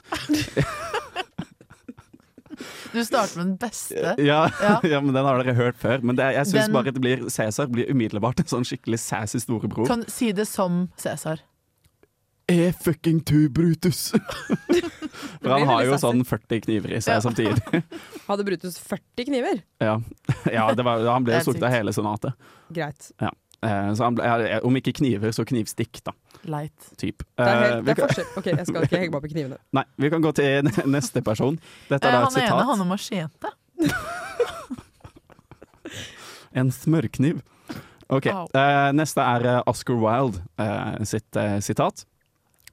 Speaker 9: Du starter med den beste.
Speaker 7: Ja, ja.
Speaker 9: Ja.
Speaker 7: men Den har dere hørt før. Men det, er- jeg syns
Speaker 9: Den-
Speaker 7: bare det blir Cæsar blir umiddelbart en sånn skikkelig sassy storebror.
Speaker 9: Kan si det som Cæsar.
Speaker 7: E fucking to Brutus! For han har
Speaker 8: blir veldig
Speaker 7: jo
Speaker 8: sassy.
Speaker 7: sånn 40 kniver i seg
Speaker 9: Ja.
Speaker 7: samtidig.
Speaker 8: Hadde Brutus 40 kniver?
Speaker 7: Ja, ja det var, han ble jo
Speaker 9: Det er
Speaker 7: sulta
Speaker 9: sykt.
Speaker 7: hele senatet.
Speaker 8: Greit.
Speaker 7: Eh, så han ble, ja, om ikke kniver, så knivstikk, da.
Speaker 9: Light.
Speaker 7: Typ.
Speaker 8: Det er,
Speaker 7: Eh,
Speaker 8: helt,
Speaker 7: vi,
Speaker 8: det er
Speaker 7: kan,
Speaker 8: forskjell. OK, jeg skal ikke henge meg opp i knivene.
Speaker 7: nei, vi kan gå til ne- neste person. Dette er
Speaker 9: Eh,
Speaker 7: da et
Speaker 9: han ene,
Speaker 7: sitat.
Speaker 9: han er machete.
Speaker 7: En smørkniv. Ok,
Speaker 9: Au.
Speaker 7: eh, neste er eh, Oscar Wilde eh, sitt eh, sitat.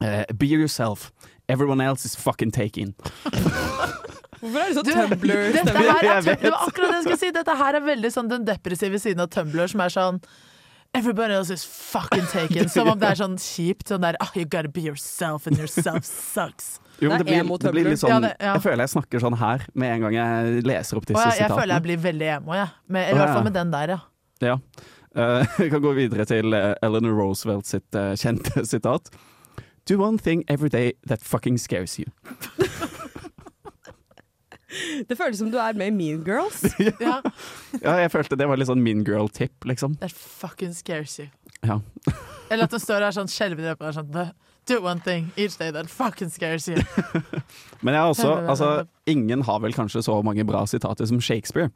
Speaker 7: Eh, be yourself. Everyone else is fucking taken.
Speaker 8: Hvorfor er det så
Speaker 9: Du, dette
Speaker 8: Tumblr-stemmer?
Speaker 9: her er
Speaker 7: Jeg vet.
Speaker 9: Tumblr, det var akkurat det jeg skulle si. Dette her er veldig sånn den depressive siden av Tumblr som er sånn Everybody else is fucking taken. Som om det er sånn kjipt. Sånn der ah, You gotta be yourself, and yourself sucks.
Speaker 7: Jo, men det,
Speaker 8: Det er
Speaker 7: blir, det
Speaker 8: emo-tømler.
Speaker 7: blir litt sånn
Speaker 9: Ja, det- ja.
Speaker 7: Jeg føler jeg snakker sånn her med en gang jeg leser opp
Speaker 9: Og
Speaker 7: disse
Speaker 9: jeg, jeg
Speaker 7: sitatene.
Speaker 9: føler jeg blir veldig emo, jeg. Med, eller i
Speaker 7: Å, ja.
Speaker 9: hvert fall med den der, ja.
Speaker 7: Ja. Eh, Vi kan gå videre til eh, Eleanor Roosevelt sitt eh, kjente sitat. Do one thing every day that fucking scares you.
Speaker 8: Det føles som du er med i Mean Girls.
Speaker 9: ja.
Speaker 7: Ja, jeg følte det var litt sånn mean girl-tipp, liksom.
Speaker 9: That fucking scares you.
Speaker 7: Ja.
Speaker 9: Eller at den står her sånn skjelvende i øynene sånn Do one thing each day that fucking scares you.
Speaker 7: Men jeg har også, altså, ingen har vel kanskje så mange bra sitater som Shakespeare.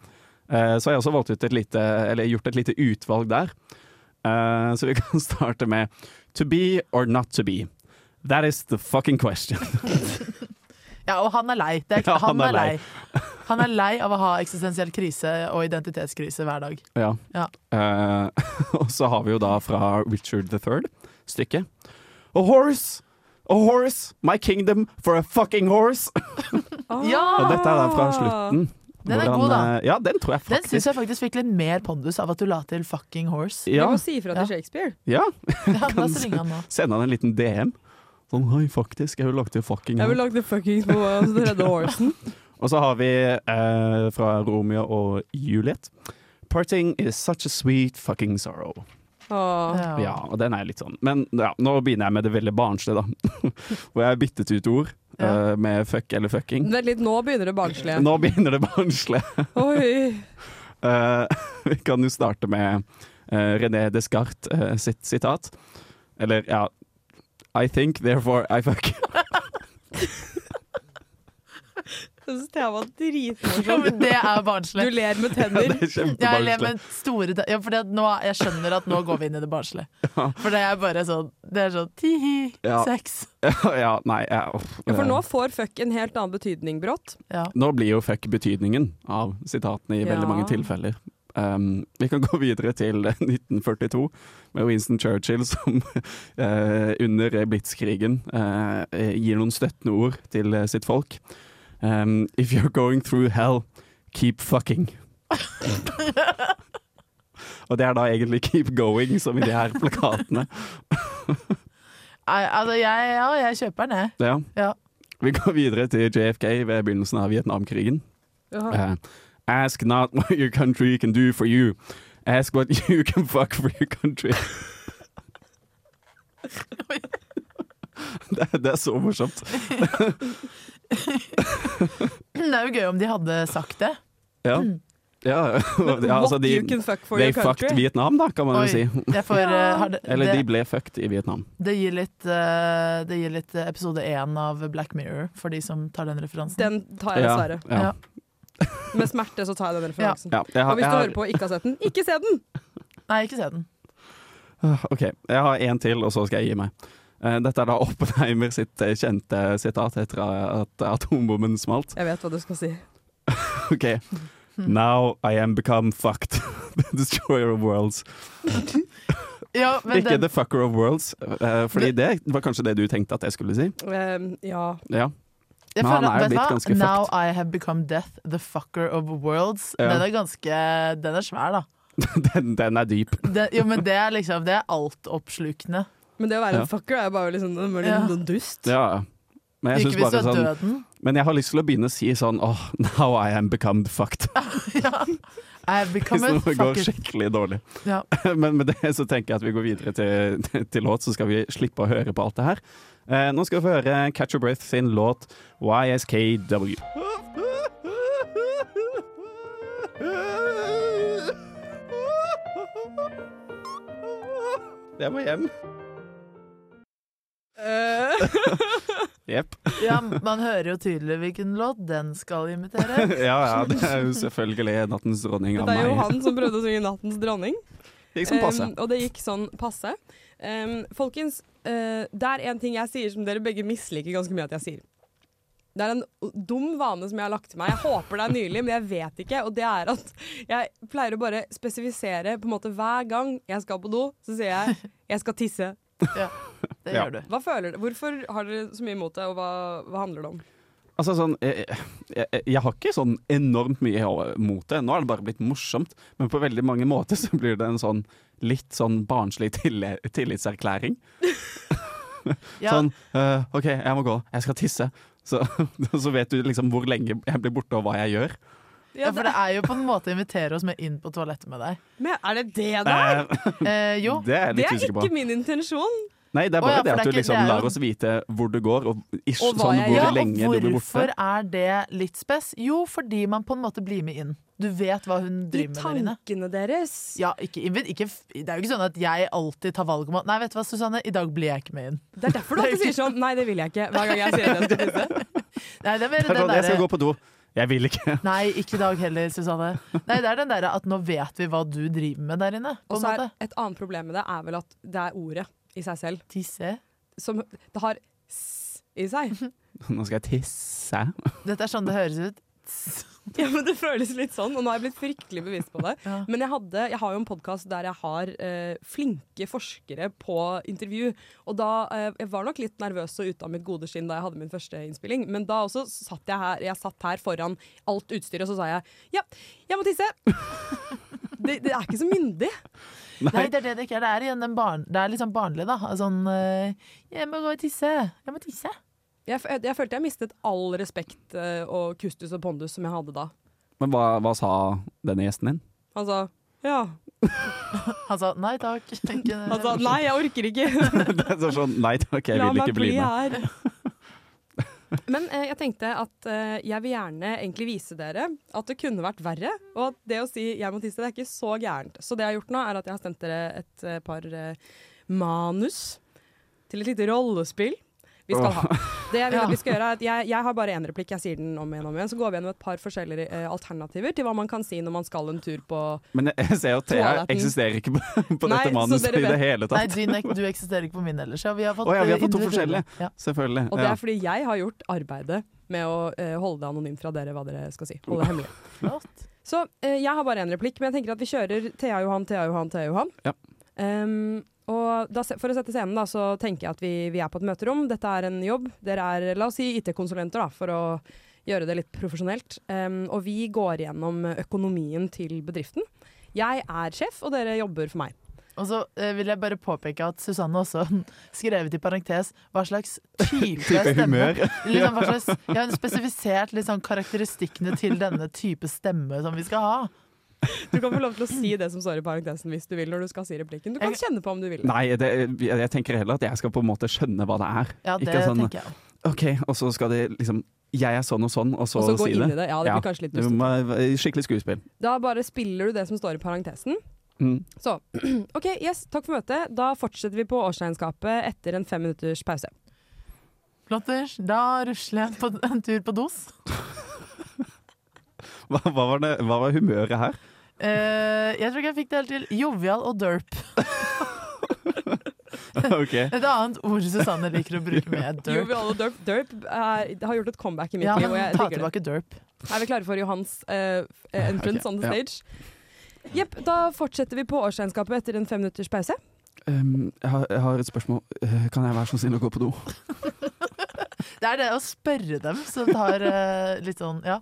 Speaker 7: Eh, Så jeg har også valgt ut et lite, eller gjort et lite utvalg der. Eh, Så vi kan starte med To be or not to be. That is the fucking question.
Speaker 9: Ja, og han er lei. Det er,
Speaker 7: Ja,
Speaker 9: han, er lei. Han er lei av å ha eksistensiell krise og identitetskrise hver dag.
Speaker 7: Ja.
Speaker 9: Ja.
Speaker 7: Eh, og så har vi jo da fra Richard the Third stykket. A horse! A horse! My kingdom for a fucking horse!
Speaker 8: Ah.
Speaker 7: Og dette er da fra slutten.
Speaker 9: Ah. Den er god, da.
Speaker 7: eh, Ja, den tror jeg
Speaker 9: Den syns
Speaker 7: faktisk
Speaker 9: jeg faktisk fikk litt mer pondus av at du la til 'fucking horse'.
Speaker 8: Vi
Speaker 7: ja,
Speaker 8: må si ifra til
Speaker 9: Ja.
Speaker 8: Shakespeare.
Speaker 7: ja,
Speaker 9: Ja, da ringer han nå.
Speaker 7: sende han en liten DM. Sånn hei, faktisk, jeg vil lage til fucking
Speaker 8: Jeg vil
Speaker 7: horse.
Speaker 8: lage The Fuckings på altså, The Redde Horsen.
Speaker 7: Og så har vi eh, fra Romeo og Juliet. Parting is such a sweet fucking sorrow.
Speaker 8: Åh.
Speaker 7: Ja, og den er litt sånn. Men ja, nå begynner jeg med det veldig barnslige, da. Hvor jeg har byttet ut ord
Speaker 9: Ja.
Speaker 7: eh, med fuck eller fucking.
Speaker 8: Vent litt, nå begynner det barnslige.
Speaker 7: Nå begynner det barnslige.
Speaker 8: Oi.
Speaker 7: Eh, vi kan jo starte med eh, René Descartes eh, sitt sitat. Eller ja I think, therefore I fuck.
Speaker 8: Jeg synes Thea var
Speaker 9: Ja,
Speaker 8: dritmorsom.
Speaker 9: men det er
Speaker 8: Du
Speaker 9: barnslig.
Speaker 8: ler med
Speaker 7: det
Speaker 8: tenner.
Speaker 7: er
Speaker 9: Jeg ler
Speaker 7: kjempebarnslig.
Speaker 9: med store te- ja, for det, at nå, Jeg skjønner at nå går vi inn i det barnslige. For det er bare sånn Det er sånn tihi,
Speaker 7: Ja.
Speaker 9: sex.
Speaker 7: ja, nei, ja, uff.
Speaker 8: Ja, for nå får fuck en helt annen betydning brått.
Speaker 9: Ja.
Speaker 7: Nå blir jo fuck betydningen av sitatene i
Speaker 8: Ja.
Speaker 7: veldig mange tilfeller. Um, vi kan gå videre til 1942 med Winston Churchill som eh, under blitskrigen eh, gir noen støttende ord til eh, sitt folk. Um, If you're going through hell, keep fucking. Og det er da egentlig 'keep going' som i de her plakatene.
Speaker 9: Nei, altså, jeg, ja, jeg kjøper den, jeg.
Speaker 7: Ja.
Speaker 9: Ja.
Speaker 7: Vi går videre til JFK ved begynnelsen av Vietnamkrigen.
Speaker 8: Ja.
Speaker 7: Uh, ask not what your country can do for you. Ask what you can fuck for your country. det, det er så morsomt.
Speaker 9: Det er jo gøy om de hadde sagt det.
Speaker 7: Ja. ja. ja altså,
Speaker 8: What
Speaker 7: de
Speaker 8: you can fuck for
Speaker 7: they
Speaker 8: your
Speaker 7: fucked
Speaker 8: country.
Speaker 7: Vietnam, da, kan man
Speaker 9: Oi,
Speaker 7: jo si.
Speaker 9: Jeg får, eh, har det,
Speaker 7: Eller de
Speaker 9: det,
Speaker 7: ble fucked i Vietnam.
Speaker 9: det gir litt eh, Det gir litt eh, episode én av Black Mirror, for de som tar den referansen.
Speaker 8: Den tar jeg dessverre.
Speaker 7: Ja.
Speaker 9: Ja.
Speaker 7: Ja.
Speaker 8: Med smerte så tar jeg den referansen.
Speaker 7: Ja. Jeg,
Speaker 8: Og
Speaker 7: har,
Speaker 8: hvis
Speaker 7: jeg,
Speaker 8: du hører
Speaker 7: har,
Speaker 8: på og ikke har sett den, ikke se den!
Speaker 9: Nei, ikke se den.
Speaker 7: Øh, ok, jeg har en til, og så skal jeg gi meg. Eh, Dette er da Oppenheimer sitt eh, kjente sitat etter at atombomben smalt.
Speaker 8: Jeg vet hva du skal si.
Speaker 7: Ok. Now I am become fucked. the destroyer of worlds.
Speaker 9: Ja, men
Speaker 7: Ikke
Speaker 9: den,
Speaker 7: the fucker of worlds, eh, fordi det var kanskje det du tenkte at jeg skulle si.
Speaker 8: Ehm, ja.
Speaker 7: Ja.
Speaker 9: jeg
Speaker 7: Men han
Speaker 9: føler,
Speaker 7: er jo
Speaker 9: vet du
Speaker 7: blitt
Speaker 9: hva?
Speaker 7: ganske
Speaker 9: Now I have become death, the fucker of worlds.
Speaker 7: Ja.
Speaker 9: Den er ganske Den er svær, da.
Speaker 7: Den, den er dyp.
Speaker 9: Den, jo, men det er liksom Det er altoppslukende.
Speaker 8: Men det å være
Speaker 7: Ja.
Speaker 8: en fucker er jo bare liksom en veldig
Speaker 9: Ja.
Speaker 8: sånn dust.
Speaker 7: Ja. Men jeg,
Speaker 9: Ikke
Speaker 7: synes
Speaker 9: hvis du
Speaker 7: bare
Speaker 9: er
Speaker 7: sånn,
Speaker 9: døden.
Speaker 7: men jeg har lyst til å begynne å si sånn åh, now I am become fucked.
Speaker 9: Ja. I
Speaker 7: Hvis
Speaker 9: have become a
Speaker 7: noe går
Speaker 9: fucker.
Speaker 7: skikkelig dårlig.
Speaker 9: Ja.
Speaker 7: Men med det så tenker jeg at vi går videre til, til låt, så skal vi slippe å høre på alt det her. Eh, nå skal vi få høre Catch Your Breath sin låt YSKW. Jeg må hjem.
Speaker 8: Eh,
Speaker 7: Jepp.
Speaker 9: Ja, man hører jo tydelig hvilken låt den skal imitere.
Speaker 7: Ja, ja, det er jo selvfølgelig Nattens dronning av
Speaker 8: det er jo
Speaker 7: meg. Liksom
Speaker 8: han som prøvde å synge 'Nattens dronning'.
Speaker 7: Det gikk som passe.
Speaker 8: Um, og det gikk sånn passe. Um, folkens, eh, det er en ting jeg sier som dere begge misliker ganske mye at jeg sier. Det er en dum vane som jeg har lagt til meg. Jeg håper det er nylig, men jeg vet ikke. Og det er at jeg pleier å bare spesifisere på en måte hver gang jeg skal på do, så sier jeg 'jeg skal tisse'.
Speaker 9: Det
Speaker 7: Ja.
Speaker 9: gjør du.
Speaker 8: Hva føler dere? Hvorfor har dere så mye imot det, og hva, hva handler det om?
Speaker 7: Altså sånn, jeg, jeg, jeg- jeg har ikke sånn enormt mye mot det. Nå er det bare blitt morsomt. Men på veldig mange måter så blir det en sånn litt sånn barnslig tilli- tillitserklæring.
Speaker 9: Ja,
Speaker 7: Sånn «Øh, OK, jeg må gå. Jeg skal tisse. Så, så vet du liksom hvor lenge jeg blir borte, og hva jeg gjør.
Speaker 9: ja, for det er jo på en måte å invitere oss med inn på toalettet med deg.
Speaker 8: Men er det det, da?
Speaker 7: Eh,
Speaker 9: Eh, jo,
Speaker 7: det er jeg
Speaker 8: Det
Speaker 7: litt
Speaker 8: er
Speaker 7: usikker
Speaker 8: ikke
Speaker 7: på.
Speaker 8: min intensjon.
Speaker 7: Nei, det er
Speaker 9: Å ja,
Speaker 7: bare det
Speaker 9: for det
Speaker 7: at
Speaker 9: er
Speaker 7: du
Speaker 9: ikke- det
Speaker 7: liksom
Speaker 9: er jo-
Speaker 7: lar oss vite hvor du går, og ish
Speaker 8: Og hva
Speaker 7: sånn
Speaker 8: jeg
Speaker 7: hvor
Speaker 8: gjør,
Speaker 9: og
Speaker 7: lenge du blir borte.
Speaker 9: Hvorfor er det litt spes? Jo, fordi man på en måte blir med inn. Du vet hva hun
Speaker 8: I
Speaker 9: driver med der inne.
Speaker 8: tankene deres.
Speaker 9: Ja, ikke, invi- ikke, f- det er jo ikke sånn at jeg alltid tar valg om at Nei, vet du hva, Susanne, i dag blir jeg ikke med inn.
Speaker 8: Det er derfor du alltid sier sånn. Nei, det vil jeg ikke. Hver gang jeg sier det. jeg sånn. skal tisse.
Speaker 9: Nei, det er mer
Speaker 7: Det er
Speaker 9: den
Speaker 7: sånn, jeg skal
Speaker 9: derre
Speaker 7: gå på do. Jeg vil ikke.
Speaker 9: Nei, ikke i dag heller, Susanne. Nei, det er den derre at nå vet vi hva du driver med der inne. På
Speaker 8: Og
Speaker 9: en
Speaker 8: så er
Speaker 9: måte.
Speaker 8: et annet problem med det er vel at det er ordet i seg selv.
Speaker 9: Tisse.
Speaker 8: Som det har s i seg.
Speaker 7: Nå skal jeg tisse.
Speaker 9: Dette er sånn det høres ut.
Speaker 8: Ja, men Det føles litt sånn, og nå har jeg blitt fryktelig bevisst på det.
Speaker 9: Ja.
Speaker 8: Men jeg, hadde, jeg har jo en podkast der jeg har eh, flinke forskere på intervju. Og da, eh, Jeg var nok litt nervøs og ute av mitt gode skinn da jeg hadde min første innspilling, men da også satt jeg her, jeg satt her foran alt utstyret, og så sa jeg ja, jeg må tisse. det, det er ikke så myndig.
Speaker 9: Nei, det er det det ikke er. Det er, igjen den barn, det er litt sånn barnlig, da. Sånn eh, Jeg må gå og tisse. Jeg må tisse.
Speaker 8: Jeg, f- jeg følte jeg mistet all respekt eh, og kustus og pondus som jeg hadde da.
Speaker 7: Men hva, hva sa denne gjesten din?
Speaker 8: Han sa ja.
Speaker 9: Han sa nei takk. Ikke,
Speaker 8: Han sa nei, jeg orker ikke.
Speaker 7: Det er sånn, Nei takk, jeg vil ikke bli med.
Speaker 8: her. Men eh, jeg tenkte at eh, jeg vil gjerne egentlig vise dere at det kunne vært verre. Og at det å si 'jeg må tisse' det er ikke så gærent. Så det jeg har gjort nå, er at jeg har sendt dere et eh, par eh, manus til et lite rollespill. Vi skal ha. Det jeg vil at vi skal gjøre er at jeg, jeg har bare én replikk, jeg sier den om igjen og om igjen. Så går vi gjennom et par forskjellige eh, alternativer til hva man kan si når man skal en tur på
Speaker 7: Men jeg- jeg ser jo at Thea
Speaker 8: Toaletten.
Speaker 7: eksisterer ikke på, på
Speaker 8: Nei,
Speaker 7: dette
Speaker 8: så
Speaker 7: manuset
Speaker 8: dere
Speaker 7: i det
Speaker 8: vet.
Speaker 7: hele
Speaker 9: Nei,
Speaker 7: tatt.
Speaker 9: du, nek- du eksisterer ikke på min ellers. Ja, vi har fått,
Speaker 7: Å ja, vi har
Speaker 9: eh,
Speaker 7: fått to
Speaker 9: individuelle.
Speaker 7: forskjellige.
Speaker 9: Ja.
Speaker 7: Selvfølgelig.
Speaker 8: Og det
Speaker 7: Ja.
Speaker 8: er fordi jeg har gjort arbeidet med å eh, holde det anonymt fra dere hva dere skal si. Holde det hemmelig.
Speaker 9: Flott.
Speaker 8: Så eh, jeg har bare én replikk, men jeg tenker at vi kjører Thea Johan, Thea Johan, Thea Johan.
Speaker 7: Ja.
Speaker 8: Ehm, og da, se- for å sette scenen, da, så tenker jeg at vi, vi er på et møterom. Dette er en jobb. Dere er, la oss si, IT-konsulenter, da, for å gjøre det litt profesjonelt. Ehm, og vi går gjennom økonomien til bedriften. Jeg er sjef, og dere jobber for meg.
Speaker 9: Og så eh, vil jeg bare påpeke at Susanne også skrevet i parentes hva slags type,
Speaker 7: Type humør.
Speaker 9: Liksom, hva slags, jeg har spesifisert litt sånn karakteristikkene til denne type stemme som vi skal ha.
Speaker 8: Du kan få lov til å si det som står i parentesen hvis du vil, når du skal si replikken. Du kan kjenne på om du vil. det.
Speaker 7: Nei, det, jeg, jeg tenker heller at jeg skal på en måte skjønne hva det er.
Speaker 9: Ja, det
Speaker 7: ikke sånn
Speaker 9: tenker jeg.
Speaker 7: OK, og så skal det liksom Jeg er sånn og sånn, og så,
Speaker 8: Og så gå
Speaker 7: si
Speaker 8: inn
Speaker 7: det.
Speaker 8: i det. Ja, det blir kanskje litt
Speaker 7: Du
Speaker 8: dustete.
Speaker 7: må- Skikkelig skuespill.
Speaker 8: Da bare spiller du det som står i parentesen.
Speaker 7: Mm.
Speaker 8: Så OK, yes, takk for møtet. Da fortsetter vi på årsregnskapet etter en fem minutters pause.
Speaker 9: Plotters, da rusler jeg på en tur på dos.
Speaker 7: Hva, hva, var det, hva var humøret her?
Speaker 9: Eh, jeg tror ikke jeg fikk det helt til. Jovial og derp.
Speaker 7: OK.
Speaker 9: Et annet ord Susanne liker å bruke med er derp.
Speaker 8: Joviale Derp, derp er, har gjort et comeback i mitt
Speaker 9: Ja,
Speaker 8: liv, og
Speaker 9: men
Speaker 8: jeg
Speaker 9: ta
Speaker 8: digger det.
Speaker 9: tilbake derp.
Speaker 8: Er vi klare for Johans eh, f- eh, entrance
Speaker 7: Ok,
Speaker 8: on the
Speaker 7: ja.
Speaker 8: stage? Jepp, da fortsetter vi på årsregnskapet etter en fem minutters pause.
Speaker 7: Um, jeg, har, jeg har et spørsmål. Uh, Kan jeg være så snill å gå på do?
Speaker 9: Det er det å spørre dem som tar eh, litt sånn Ja,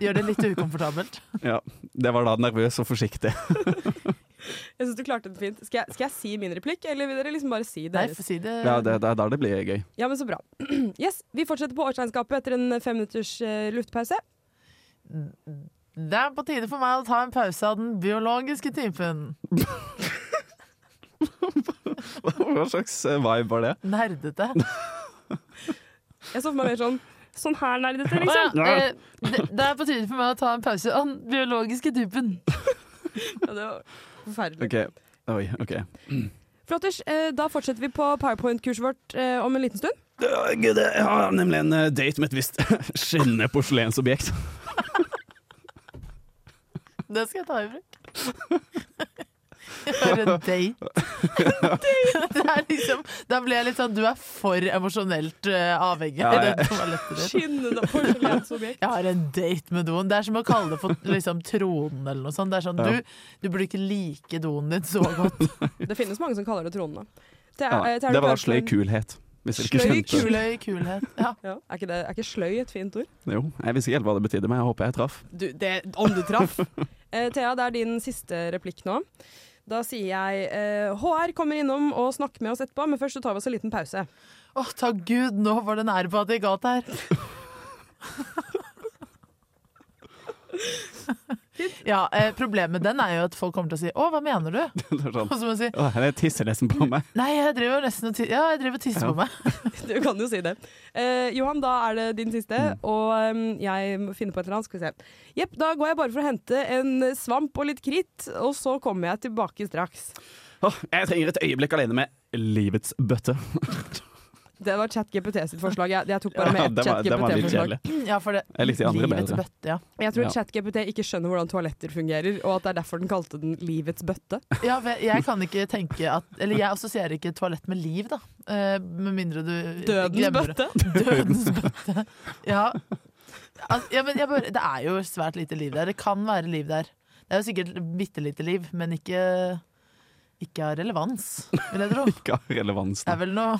Speaker 9: gjør det litt ukomfortabelt.
Speaker 7: Det var da nervøs og forsiktig.
Speaker 8: Jeg synes du klarte den fint. Skal jeg, skal jeg si min replikk, eller vil dere liksom bare si
Speaker 9: Nei,
Speaker 8: deres?
Speaker 9: si det.
Speaker 7: Ja, det, det er da det blir gøy.
Speaker 8: Ja, men så bra. Yes, vi fortsetter på årsregnskapet etter en fem minutters eh, luftpause.
Speaker 9: Det er på tide for meg å ta en pause av den biologiske typen.
Speaker 7: Hva slags eh, vibe var det?
Speaker 9: Nerdete.
Speaker 8: Jeg så for meg mer sånn Sånn her nerdete,
Speaker 9: Å
Speaker 8: liksom.
Speaker 9: ja, eh, det, det er på tide for meg å ta en pause av den biologiske typen.
Speaker 8: Ja, det var forferdelig.
Speaker 7: OK. Oi, OK.
Speaker 8: Flotters, eh, da fortsetter vi på powerpoint-kurset vårt eh, om en liten stund.
Speaker 7: Ja, Gud, jeg har nemlig en eh, date med et visst skinnende porselensobjekt.
Speaker 9: Det skal jeg ta i bruk. For en date. Det er liksom, da ble jeg litt sånn Du er for emosjonelt eh, avhengig av
Speaker 7: Ja, jeg-
Speaker 9: det toalettet ditt.
Speaker 8: Skinnende porselensobjekt.
Speaker 9: Jeg har en date med doen. Det er som å kalle det for liksom, tronen eller noe sånt. Det er sånn,
Speaker 7: Ja.
Speaker 9: du, du burde ikke like doen din så godt.
Speaker 8: Det finnes mange som kaller det tronene. Det er,
Speaker 7: Nei,
Speaker 8: eh, Terry
Speaker 7: det var da
Speaker 8: Clarkson-
Speaker 7: sløy kulhet. Hvis dere ikke
Speaker 8: Sløy
Speaker 7: skjønte det.
Speaker 9: Kuløy kulhet. Ja.
Speaker 8: Ja, er, ikke det, er ikke sløy et fint ord?
Speaker 7: Jo, jeg visste ikke helt hva det betydde, men jeg håper jeg traff.
Speaker 9: Du, det, om du traff.
Speaker 8: Eh, Thea, det er din siste replikk nå. Da sier jeg eh, HR kommer innom og snakker med oss etterpå, men først så tar vi oss en liten pause.
Speaker 9: Å, takk Gud, nå var det nær på at jeg galt her. ja, eh, Problemet med den er jo at folk kommer til å si 'Å, hva mener du?'
Speaker 7: Det er sånn,
Speaker 9: Og så må jeg si
Speaker 7: Åh, det tisser nesten på meg.
Speaker 9: 'Nei, jeg driver nesten og ti- ja, jeg driver og tisser på meg'.
Speaker 8: Du kan jo si det. Eh, Johan, da er det din siste,
Speaker 7: Mm.
Speaker 8: og eh, jeg må finne på et eller annet. Skal vi se. Jepp, da går jeg bare for å hente en svamp og litt kritt, og så kommer jeg tilbake straks.
Speaker 7: Åh, jeg trenger et øyeblikk alene med livets bøtte.
Speaker 8: Det var ChatGPT sitt forslag. Jeg, jeg tok bare
Speaker 7: Ja,
Speaker 8: med
Speaker 7: den
Speaker 8: ett
Speaker 7: var, den var litt
Speaker 8: ChatGPT-forslag.
Speaker 7: kjedelig.
Speaker 9: Ja, for det
Speaker 7: Jeg likte de andre
Speaker 9: livets
Speaker 7: bedre.
Speaker 9: bøtte, ja.
Speaker 8: Jeg tror
Speaker 7: Ja.
Speaker 8: ChatGPT ikke skjønner hvordan toaletter fungerer, og at det er derfor den kalte den livets bøtte.
Speaker 9: ja. for Jeg kan ikke tenke at Eller jeg assosierer ikke toalett med liv, da. Eh, med mindre du
Speaker 8: Dødens
Speaker 9: glemmer det.
Speaker 8: bøtte!
Speaker 9: Dødens bøtte. Ja. Altså, ja, men jeg bare, det er jo svært lite liv der. Det kan være liv der. Det er jo sikkert bitte lite liv, men ikke, ikke av relevans, vil jeg tro.
Speaker 7: Ikke av relevans.
Speaker 9: Det er vel noe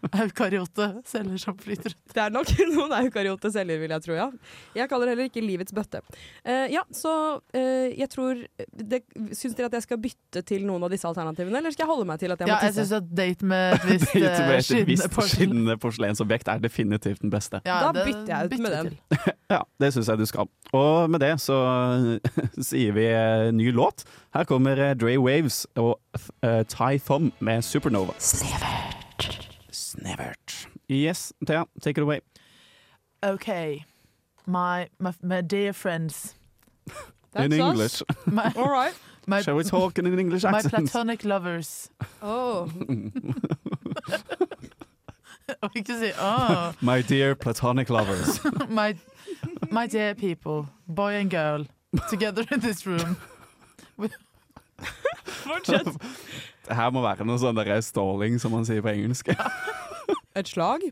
Speaker 9: eukaryote celler som flyter ut.
Speaker 8: Det er nok noen eukaryote celler, vil jeg tro, ja. Jeg kaller det heller ikke livets bøtte. Eh, ja, så eh, jeg tror det, Syns dere at jeg skal bytte til noen av disse alternativene, eller skal jeg holde meg til at jeg
Speaker 9: Ja,
Speaker 8: må
Speaker 9: jeg
Speaker 8: tisse?
Speaker 9: syns at date med et visst
Speaker 7: Date
Speaker 9: eh,
Speaker 7: med et
Speaker 9: skinnende
Speaker 7: visst
Speaker 9: porselen
Speaker 7: skinnende porselensobjekt er definitivt den beste.
Speaker 9: Ja,
Speaker 8: Da
Speaker 9: det-
Speaker 8: bytter jeg ut med
Speaker 9: bytter
Speaker 8: den.
Speaker 9: til.
Speaker 7: Ja, det syns jeg du skal. Og med det så sier vi eh, ny låt. Her kommer eh, Dre Waves og eh, Ty Thumb med 'Supernova'. Snevert. Yes, Thea, take it away.
Speaker 9: OK. My, my, my dear friends.
Speaker 8: That's
Speaker 7: in
Speaker 8: us.
Speaker 7: English.
Speaker 9: My,
Speaker 8: All right.
Speaker 9: my,
Speaker 7: Shall we talk in an English
Speaker 9: my
Speaker 7: accent?
Speaker 9: platonic lovers.
Speaker 8: Oh.
Speaker 9: Og ikke si åh.
Speaker 7: My dear platonic lovers.
Speaker 9: my, my dear people, boy and girl, together in this room.
Speaker 7: Det her må være noe sånn derre stalling, som man sier på engelsk.
Speaker 8: Et slag?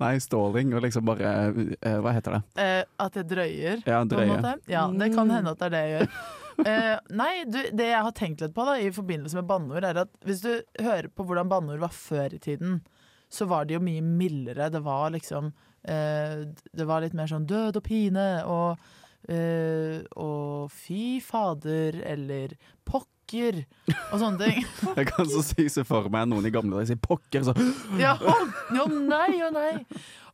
Speaker 7: Nei, stalling og liksom bare eh, Hva heter det?
Speaker 9: Eh, at jeg drøyer,
Speaker 7: Ja,
Speaker 9: på en
Speaker 7: drøye.
Speaker 9: måte. Ja, det kan hende at det er det jeg gjør. Eh, nei, du, det jeg har tenkt litt på da, i forbindelse med banneord, er at hvis du hører på hvordan banneord var før i tiden, så var det jo mye mildere. Det var liksom eh, Det var litt mer sånn død og pine og eh, Og fy fader, eller pokker, og sånne ting.
Speaker 7: Jeg kan så si se for meg noen i gamle dager sier 'pokker', så
Speaker 9: Ja, å å nei, å nei.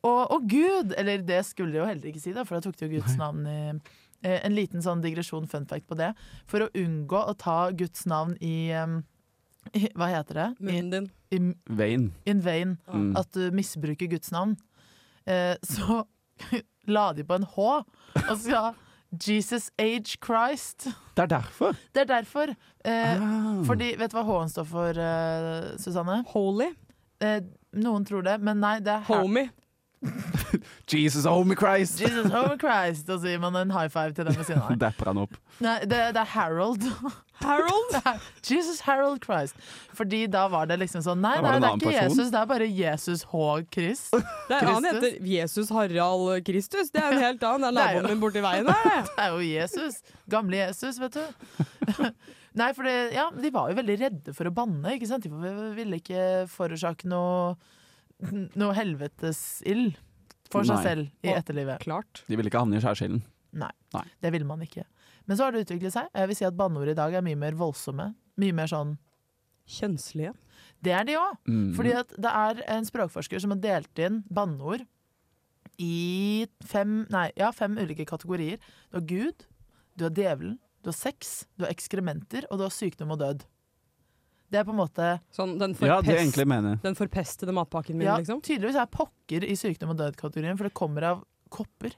Speaker 9: Og, og Gud, eller det skulle jeg jo heller ikke si, da, for da tok det jo Guds navn i eh, En liten sånn digresjon, fun fact på det. For å unngå å ta Guds navn i, em, i Hva heter det? I, Ah.
Speaker 8: Munnen din.
Speaker 9: i,
Speaker 7: Vein.
Speaker 9: in vain.
Speaker 7: Mm.
Speaker 9: At du misbruker Guds navn. Eh, så la de på en H og sa Jesus Age Christ.
Speaker 7: Det er derfor.
Speaker 9: Det er derfor. Eh,
Speaker 7: Ah.
Speaker 9: fordi, vet du hva H-en står for, eh, Susanne?
Speaker 8: Holy.
Speaker 9: Eh, noen tror det, men nei, det er her-
Speaker 8: Homie.
Speaker 7: Jesus, oh my Christ!
Speaker 9: Jesus oh Christ, og så gir man en high five til dem ved siden av.
Speaker 7: Dapper han opp.
Speaker 9: Nei, det, det er Harold.
Speaker 8: Harold.
Speaker 9: Det er Jesus Harold Christ. Fordi da var det liksom sånn Nei,
Speaker 7: Da var det
Speaker 9: nei
Speaker 7: en
Speaker 9: det er
Speaker 7: annen
Speaker 9: ikke
Speaker 7: person.
Speaker 9: Jesus, det er bare Jesus H. Christ.
Speaker 8: Det er, han
Speaker 9: Kristus.
Speaker 8: heter Jesus Harald Kristus. Det er en helt annen. Det
Speaker 9: Det er
Speaker 8: er
Speaker 9: jo-
Speaker 8: naboen min borti veien her.
Speaker 9: Det er jo Jesus. Gamle Jesus, vet du. Nei, for det, ja, de var jo veldig redde for å banne, ikke sant. De var- ville ikke forårsake noe, noe helvetesild for seg
Speaker 7: Nei.
Speaker 9: selv i
Speaker 8: Og-
Speaker 9: etterlivet.
Speaker 8: Klart.
Speaker 7: De ville ikke havne i skjærsilden.
Speaker 9: Det ville man ikke. Men så har det utviklet seg. og Jeg vil si at banneord i dag er mye mer voldsomme. Mye mer sånn
Speaker 8: Kjønnslige.
Speaker 9: Det er de òg.
Speaker 7: Mm.
Speaker 9: Fordi at det er en språkforsker som har delt inn banneord i fem, nei, ja, fem ulike kategorier. Du har Gud, du har djevelen, du har sex, du har ekskrementer, og du har sykdom og død. Det er på en måte
Speaker 8: Sånn den,
Speaker 7: Ja, det er
Speaker 8: forpest,
Speaker 7: egentlig mener jeg.
Speaker 8: den forpestede matpakken min,
Speaker 9: ja,
Speaker 8: liksom.
Speaker 9: Tydeligvis er pokker i sykdom og død-kategorien, for det kommer av kopper.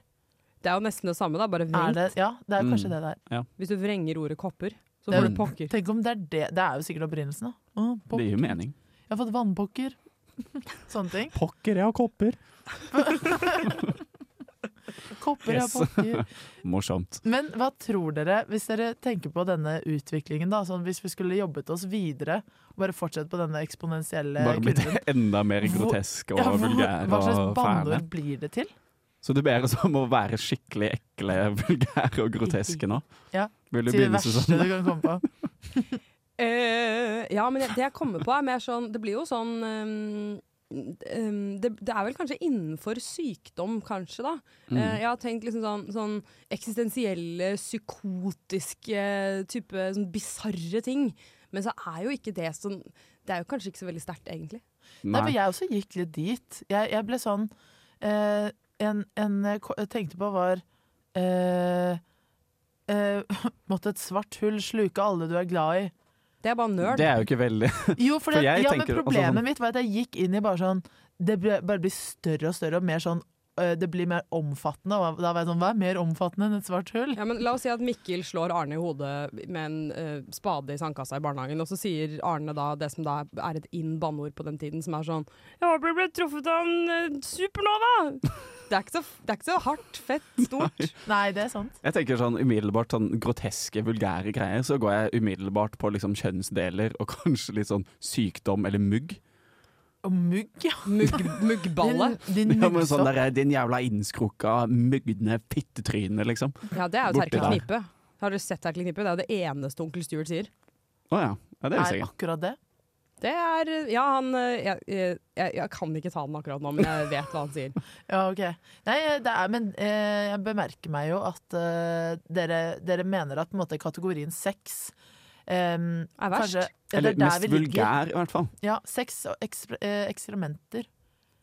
Speaker 8: Det er jo nesten det samme, da. Bare
Speaker 9: Er
Speaker 8: vrengt.
Speaker 9: det, ja, det er kanskje
Speaker 7: Mm.
Speaker 9: det det er.
Speaker 8: Hvis du vrenger ordet kopper, så
Speaker 9: Det er
Speaker 8: får
Speaker 7: jo-
Speaker 8: du pokker.
Speaker 9: Tenk om det er det. Det er jo sikkert opprinnelsen, da. Å,
Speaker 7: Det gir jo
Speaker 9: pokker.
Speaker 7: mening.
Speaker 9: Jeg har fått vannpokker. Sånne ting.
Speaker 7: Pokker, jeg har kopper.
Speaker 9: kopper
Speaker 7: Yes.
Speaker 9: og pakker.
Speaker 7: Morsomt.
Speaker 9: Men hva tror dere, hvis dere tenker på denne utviklingen, da, sånn hvis vi skulle jobbet oss videre, og bare fortsette på denne eksponentielle
Speaker 7: Bare blitt
Speaker 9: kurven
Speaker 7: enda mer
Speaker 9: Hvor-
Speaker 7: grotesk og
Speaker 9: ja, hvor-
Speaker 7: vulgær
Speaker 9: Hva slags
Speaker 7: og fæle.
Speaker 9: banneord blir det til?
Speaker 7: Så du ber oss om å være skikkelig ekle, vulgære og groteske nå?
Speaker 9: Ja.
Speaker 7: Vil du
Speaker 9: Til det
Speaker 7: begynne,
Speaker 9: verste du
Speaker 7: Susanne?
Speaker 9: kan komme på.
Speaker 8: Eh, ja, men jeg- det jeg kommer på er mer sånn Det blir jo sånn ehm, ehm, det, det er vel kanskje innenfor sykdom, kanskje, da.
Speaker 7: Mm.
Speaker 8: Eh, jeg har tenkt liksom sånn, sånn eksistensielle, psykotiske type sånn bisarre ting. Men så er jo ikke det sånn Det er jo kanskje ikke så veldig sterkt, egentlig.
Speaker 9: Nei, for
Speaker 7: Nei.
Speaker 9: jeg også gikk litt dit. Jeg, jeg ble sånn eh, en, en jeg ko- jeg tenkte på var eh, eh, Måtte et svart hull sluke alle du er glad i.
Speaker 8: Det er bare nerd.
Speaker 7: Det er jo ikke veldig
Speaker 9: Jo, for
Speaker 7: For
Speaker 9: det,
Speaker 7: jeg
Speaker 9: ja,
Speaker 7: tenker
Speaker 9: men
Speaker 7: også
Speaker 9: problemet
Speaker 7: sånn-
Speaker 9: mitt var at jeg gikk inn i bare sånn Det ble, bare blir større og større og mer sånn øh, Det blir mer omfattende. Og da var jeg sånn Hva er mer omfattende enn et svart hull?
Speaker 8: Ja, men la oss si at Mikkel slår Arne i hodet med en eh, spade i sandkassa i barnehagen, og så sier Arne da det som da er et inn banneord på den tiden, som er sånn Jeg håper du ble truffet av en eh, supernova! Det er, ikke så, det er ikke så hardt, fett, stort.
Speaker 9: Nei, det er sant.
Speaker 7: Jeg tenker sånn umiddelbart sånn groteske, vulgære greier, så går jeg umiddelbart på liksom kjønnsdeler og kanskje litt sånn sykdom eller mugg.
Speaker 9: Og mugg, ja.
Speaker 8: Mugg, muggballe.
Speaker 9: Din, din
Speaker 7: Ja, men sånn
Speaker 9: muggsopp.
Speaker 7: der, din jævla innskruka, mugne fittetryne, liksom.
Speaker 8: Ja, det er jo
Speaker 7: Borti
Speaker 8: Terkel
Speaker 7: der.
Speaker 8: Knipe. Har dere sett Terkel Knipe? Det er jo det eneste onkel Stuart sier.
Speaker 7: Å ja. ja, det visste jeg.
Speaker 9: er
Speaker 7: ikke.
Speaker 9: akkurat det.
Speaker 8: Det er Ja, han eh, jeg, jeg, jeg kan ikke ta den akkurat nå, men jeg vet hva han sier.
Speaker 9: Ja, ok. Nei, det er, men eh, jeg bemerker meg jo at eh, dere, dere mener at på en måte, kategorien sex em,
Speaker 8: Er verst.
Speaker 9: kanskje- ja, det er
Speaker 7: Eller
Speaker 9: der
Speaker 7: mest
Speaker 9: vi ligger.
Speaker 7: vulgær, i hvert fall.
Speaker 9: Ja, sex og ekspre- eh, ekskrementer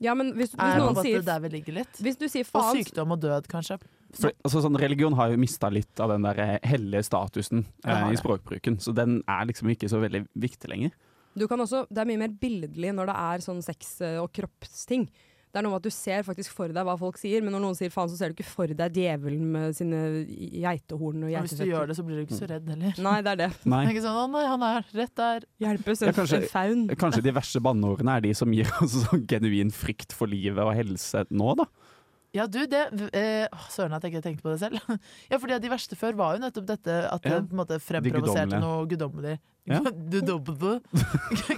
Speaker 8: Ja, men hvis, hvis
Speaker 9: er på en
Speaker 8: noen
Speaker 9: måte
Speaker 8: sier
Speaker 9: der vi ligger litt.
Speaker 8: Hvis du sier
Speaker 9: Og
Speaker 8: faen
Speaker 9: sykdom og død, kanskje.
Speaker 7: For, altså, sånn, religion har jo mista litt av den der eh, hellige statusen
Speaker 9: Ja,
Speaker 7: eh,
Speaker 9: har
Speaker 7: i
Speaker 9: det.
Speaker 7: språkbruken, så den er liksom ikke så veldig viktig lenger.
Speaker 8: Du kan også, det er mye mer billedlig når det er sånn sex eh, og kroppsting. Det er noe med at Du ser faktisk for deg hva folk sier, men når noen sier faen, så ser du ikke for deg djevelen med sine geitehorn og
Speaker 9: Og hvis du gjør
Speaker 8: geiteføtter.
Speaker 9: det, så blir du ikke så redd heller.
Speaker 8: Nei, det er det.
Speaker 7: Nei.
Speaker 9: Det er Ikke sånn, å nei, han er rett der.
Speaker 8: Hjelpes
Speaker 7: Ja,
Speaker 8: en,
Speaker 7: kanskje-
Speaker 8: en faun.
Speaker 7: Eh, Kanskje de verste banneordene er de som gir oss sånn genuin frykt for livet og helse nå, da.
Speaker 9: Ja, du, det eh, åh, Søren at jeg ikke tenkte på det selv. ja, fordi at De verste før var jo nettopp dette at
Speaker 7: Ja.
Speaker 9: det på en måte fremprovoserte
Speaker 7: guddommelige.
Speaker 9: noe guddommelig.
Speaker 7: Ja.
Speaker 9: Guddommelig.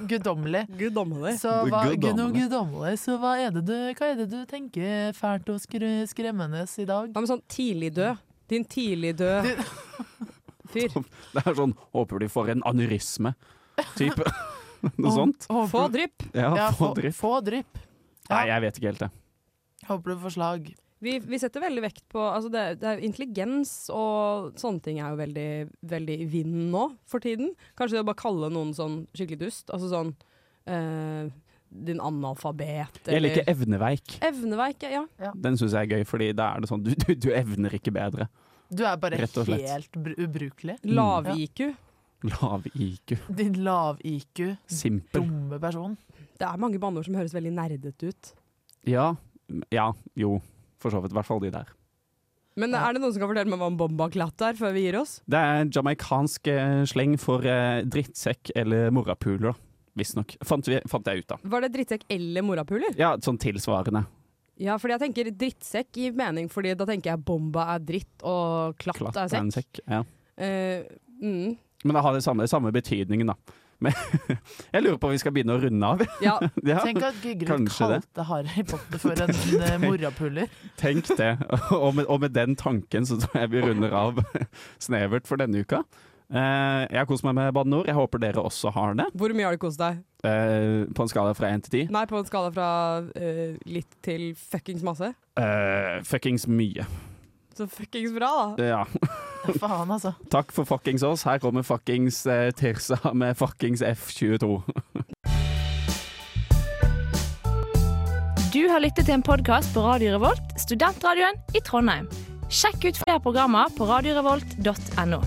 Speaker 9: guddommelig.
Speaker 8: Gud domme deg.
Speaker 9: Så
Speaker 7: Det
Speaker 9: hva,
Speaker 7: guddommelige.
Speaker 9: noe guddommelig. Så hva er det du, hva er det du tenker fælt og skre, skremmende i dag?
Speaker 8: Hva med sånn tidlig død? Din tidlig død fyr.
Speaker 7: Det er sånn 'håper du får en aneurisme', type. Noe sånt.
Speaker 9: Håper-
Speaker 8: Få drypp!
Speaker 7: Ja,
Speaker 9: Ja,
Speaker 7: få
Speaker 9: få,
Speaker 7: dritt.
Speaker 9: få drypp.
Speaker 7: Nei, jeg vet ikke helt det.
Speaker 9: Håper du får slag.
Speaker 8: Vi, vi setter veldig vekt på altså det, det er Intelligens og sånne ting er jo veldig, veldig i vinden nå for tiden. Kanskje det å bare kalle noen sånn skikkelig dust. Altså sånn eh, Din analfabet
Speaker 7: Jeg
Speaker 8: eller
Speaker 7: liker evneveik.
Speaker 8: Evneveik, ja.
Speaker 7: Den syns jeg er gøy, fordi da er det sånn du, du, du evner ikke bedre.
Speaker 9: Du er bare
Speaker 7: Rett og slett.
Speaker 9: helt br- ubrukelig.
Speaker 7: Mm.
Speaker 8: Lav-IQ.
Speaker 7: Lav-IQ.
Speaker 9: Din lav-IQ,
Speaker 7: Simpel.
Speaker 9: dumme person.
Speaker 8: Det er mange banneord som høres veldig nerdete ut.
Speaker 7: Ja. Ja. Jo. For så vidt. I hvert fall de der.
Speaker 8: Men
Speaker 9: Ja.
Speaker 8: er det noen som kan fortelle meg hva en bombaklatt er, før vi gir oss?
Speaker 7: Det er en jamaikansk eh, sleng for eh, drittsekk eller morapuler, da. visstnok. Fant, vi- fant jeg ut, da.
Speaker 8: Var det drittsekk eller morapuler?
Speaker 7: Ja, sånn tilsvarende.
Speaker 8: Ja, fordi jeg tenker drittsekk gir mening, fordi da tenker jeg bomba er dritt og klatt,
Speaker 7: Klatt
Speaker 8: er
Speaker 7: er en
Speaker 8: sekk.
Speaker 7: sekk. Ja.
Speaker 8: Eh, mm.
Speaker 7: Men det har den samme, samme betydningen, da. Men jeg lurer på om vi skal begynne å runde av.
Speaker 8: Ja,
Speaker 7: Ja,
Speaker 9: Tenk at Gygrid
Speaker 7: kanskje det.
Speaker 9: kalte Harry Potter for en eh, morapuler.
Speaker 7: tenk det. Og med, og med den tanken så tror jeg vi runder av snevert for denne uka. Eh, jeg har kost meg med banneord. Jeg håper dere også har det.
Speaker 8: Hvor mye har du kost deg?
Speaker 7: Eh, på en skala fra én til ti.
Speaker 8: Nei, på en skala fra eh, litt til fuckings masse.
Speaker 7: Eh, fuckings mye.
Speaker 8: Så fuckings bra, da.
Speaker 7: Ja.
Speaker 9: Faen, altså.
Speaker 7: Takk for fuckings oss. Her kommer fuckings eh, Tirsa med fuckings F22.
Speaker 11: Du har lyttet til en podkast på Radio Revolt, studentradioen i Trondheim. Sjekk ut flere programmer på radiorevolt.no.